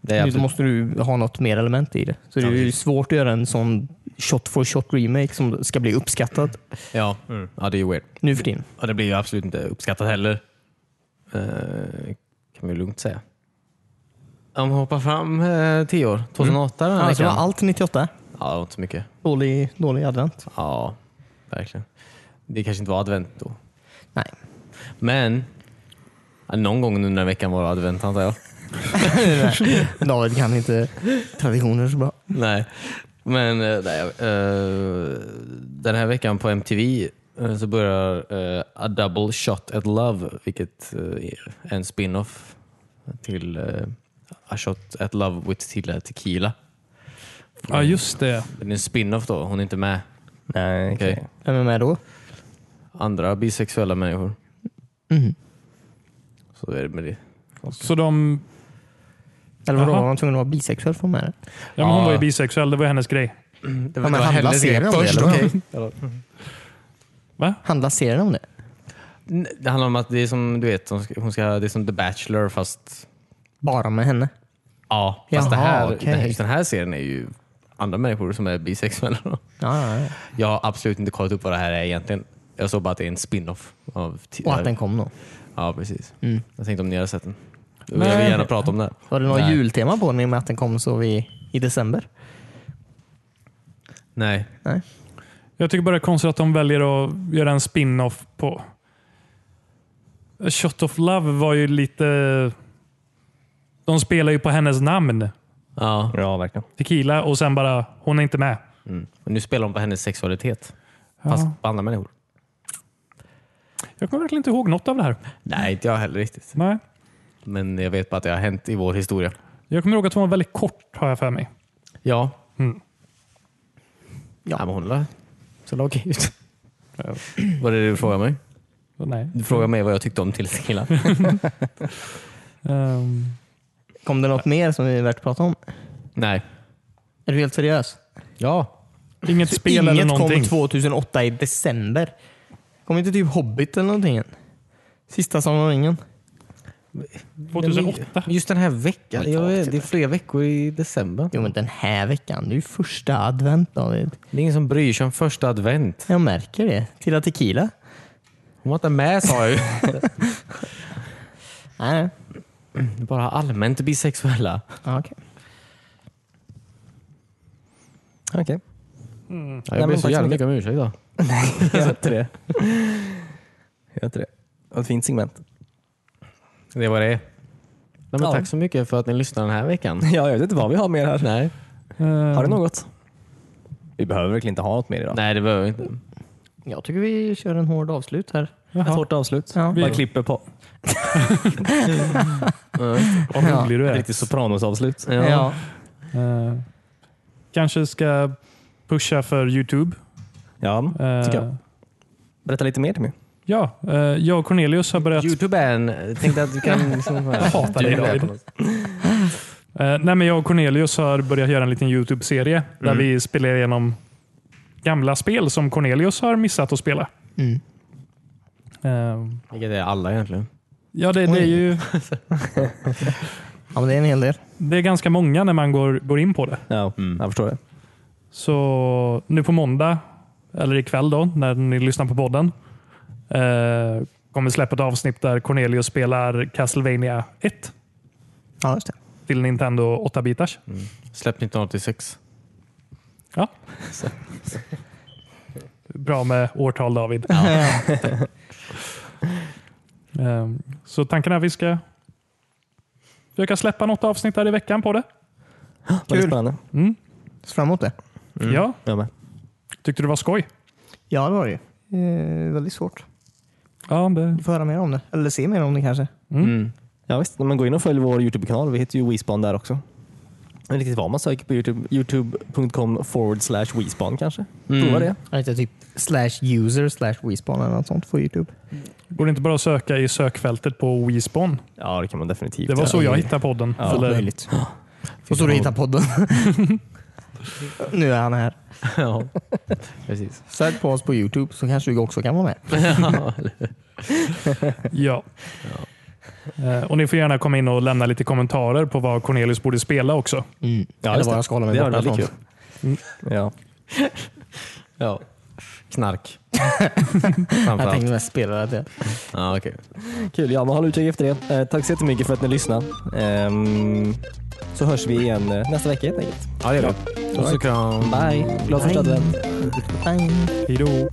S4: Det är
S2: Nu
S4: absolut.
S2: måste du ha något mer element i det. Så
S4: Ja,
S2: det är ju
S4: precis.
S2: svårt att göra en sån shot for shot remake som ska bli uppskattad
S4: Ja. ja, det är ju weird.
S2: nu för tiden.
S4: Och Mm. det blir ju absolut inte uppskattat heller. Eh, kan man ju lugnt säga. Om vi hoppar fram eh, tio år, 2008 den här
S2: Alltså, det var
S4: veckan.
S2: allt 98.
S4: Ja, det var inte så mycket.
S2: Dålig, dålig advent.
S4: Ja, verkligen. Det kanske inte var advent då.
S2: Nej.
S4: Men ja, någon gång under den här veckan var det advent antar jag.
S2: David kan inte traditioner så bra.
S4: Nej, men eh, nej, eh, den här veckan på MTV eh, så börjar eh, A Double Shot at Love, vilket eh, är en spin-off till eh, A Shot at Love with Tilla Tequila.
S1: Ja, just det.
S4: Det är en spin-off då, hon är inte med.
S3: Nej, okej.
S4: Okej.
S2: Vem är med då?
S4: Andra bisexuella människor.
S2: Mhm.
S4: Så är det med det.
S1: Så de,
S2: Eller vadå,
S1: Jaha.
S2: var de tvungna att vara bisexuell för att vara med? där?
S1: ja, men hon
S4: Ja.
S1: var ju bisexuell, det var hennes grej.
S4: Det
S2: men handlar serien om det, eller vad?
S4: okej.
S1: Va?
S2: Handlar serien om det?
S4: Det handlar om att det är som du vet, hon ska, hon ska, det är som The Bachelor fast
S2: Bara med henne?
S4: Ja, fast det
S2: Jaha,
S4: här,
S2: okej.
S4: det här, just den här serien är ju andra människor som är bisexuella. då.
S2: Ja, ja, ja.
S4: Jag har absolut inte kollat upp vad det här är egentligen. Jag såg bara att det är en spin-off. Av ti-
S2: Och att den kom då.
S4: Ja, precis.
S2: Mm.
S4: Jag tänkte om ni hade sett den. Jag
S1: Nej.
S4: vill gärna prata om det.
S2: Var det något
S4: Nej.
S2: jultema på den i och med att den kom så vi, i december?
S4: Nej.
S2: Nej.
S1: Jag tycker bara det är konstigt att de väljer att göra en spin-off på... A Shot of Love var ju lite... De spelar ju på hennes namn,
S4: Ja.
S3: Ja, verkligen.
S1: Tequila, och sen bara, hon är inte med.
S4: Mm. Och nu spelar de på hennes sexualitet. Fast
S1: Ja.
S4: på andra människor.
S1: Jag kommer verkligen inte ihåg något av det här.
S4: Nej, inte jag heller riktigt.
S1: Nej.
S4: Men jag vet bara att det har hänt i vår historia.
S1: Jag kommer ihåg att hon var väldigt kort, har jag för mig.
S4: Ja.
S1: Mm.
S4: Ja. men hon la så la okej ut. Vad är det du frågar mig?
S1: Så Nej.
S4: Du frågar mig vad jag tyckte om till killar.
S1: Ehm,
S2: Kom det något mer som vi är värt att prata om?
S4: Nej.
S2: Är du helt seriös?
S4: Ja.
S1: inget spel eller
S2: Inget
S1: någonting.
S2: kom 2008 i december. Kom inte typ Hobbit eller någonting? Sista Sagan om ringen.
S1: 2008.
S4: Just den här veckan.
S2: Oj,
S4: Jag
S2: tack
S4: vet,
S2: till
S4: det är flera veckor i december.
S2: Jo men den här veckan, det är ju första advent David.
S4: Det är ingen som bryr sig om första advent.
S2: Jag märker det. Tilla Tequila.
S4: Hon var inte med sa jag ju.
S2: Nej,
S4: Bara allmänt bisexuella.
S2: ja, Ah, okej.
S3: Okej.
S4: Ja,
S2: Nej,
S4: jag ber
S2: men
S4: så
S2: tack så
S4: jävla
S2: mycket.
S4: mycket om ursäkt då.
S3: Gör inte det. Gör inte det. Det var Ett fint segment.
S4: Det var det Nej, men
S3: Ja.
S4: Tack så mycket för att ni lyssnade den här veckan.
S3: Ja, jag vet inte vad vi har mer här.
S4: Nej,
S1: Ehm,
S3: Har du något? Mm. Vi behöver verkligen inte ha något mer idag.
S4: Nej det behöver vi inte.
S2: Jag tycker vi kör en hård avslut här.
S3: Ett
S1: Jaha,
S3: hårt avslut.
S2: Ja.
S3: Man klipper på.
S1: vad rolig du
S3: Ett
S1: är.
S3: riktigt Sopranos-avslut.
S4: Ja.
S2: Ja.
S1: Ehm, kanske ska pusha för Youtube.
S3: Ja,
S1: Ehm,
S3: tycker jag. Berätta lite mer till mig.
S1: Ja, eh, jag och Cornelius har börjat...
S4: Youtube är en... Tänkte att du kan... Liksom, jag
S1: hatar dig, David. Eh, nej, men jag och Cornelius har börjat göra en liten Youtube-serie
S3: Mm.
S1: där vi spelar igenom gamla spel som Cornelius har missat att spela.
S2: Mm.
S1: Eh,
S4: Vilket är alla egentligen.
S1: ja, det, det är
S2: Oj.
S1: ju
S2: ja, men det är en hel del.
S1: det är ganska många när man går, går in på det.
S3: Ja, Mm. Jag förstår det.
S1: Så nu på måndag, eller ikväll då, när ni lyssnar på podden, eh, kommer släppa ett avsnitt där Cornelius spelar Castlevania 1
S2: Ja, just det.
S1: till Nintendo 8-bitars.
S3: Mm.
S4: Släpp 1986.
S1: Ja. Bra med årtal David. Ehm, Så tanken är att vi ska försöka släppa något avsnitt här i veckan på det.
S3: Väldigt spännande.
S1: Mm.
S2: Så fram emot det.
S3: Mm.
S1: Ja,
S3: Jag med.
S1: tyckte du var skoj?
S2: Ja, det var det ju. Eh, väldigt svårt.
S1: Ja, det...
S2: Vi får höra mer om det. Eller se mer om det kanske.
S3: Ja, visst. Men gå in och följ vår Youtube-kanal. Vi heter ju WeSpan där också. Jag vet inte riktigt vad man söker på Youtube. Youtube.com forward slash WeSpan kanske. Prova det.
S2: Jag vet inte, typ slash user slash Wespawn eller något sånt på Youtube.
S1: Går det inte bara att söka i sökfältet på WeSpawn?
S3: Ja, det kan man definitivt
S1: Det var
S3: göra.
S1: så jag hittade podden.
S3: Ja,
S1: Eller-
S2: möjligt. Och så du hittar podden. nu är han här.
S4: ja, precis.
S2: Sök på oss på Youtube så kanske du också kan vara med.
S1: Ja. Eh, Och Ni får gärna komma in och lämna lite kommentarer på vad Cornelius borde spela också.
S3: Mm. Ja,
S2: eller
S3: just
S2: vad
S3: det.
S2: jag ska hålla mig
S3: Det var
S2: borta
S3: väldigt
S2: från.
S3: kul. Ja.
S4: Ja. Knark.
S2: Jag
S4: Framförallt.
S2: tänkte mest spela det.
S4: Ja, okej.
S3: Kul, ja men håll utkik efter det. Eh, tack så jättemycket för att ni lyssnade. Ehm, så hörs vi igen eh, nästa vecka helt enkelt.
S4: ja, det gör vi. Puss och kram.
S3: Bye! Glad första advent.
S2: Bang.
S1: Hej då!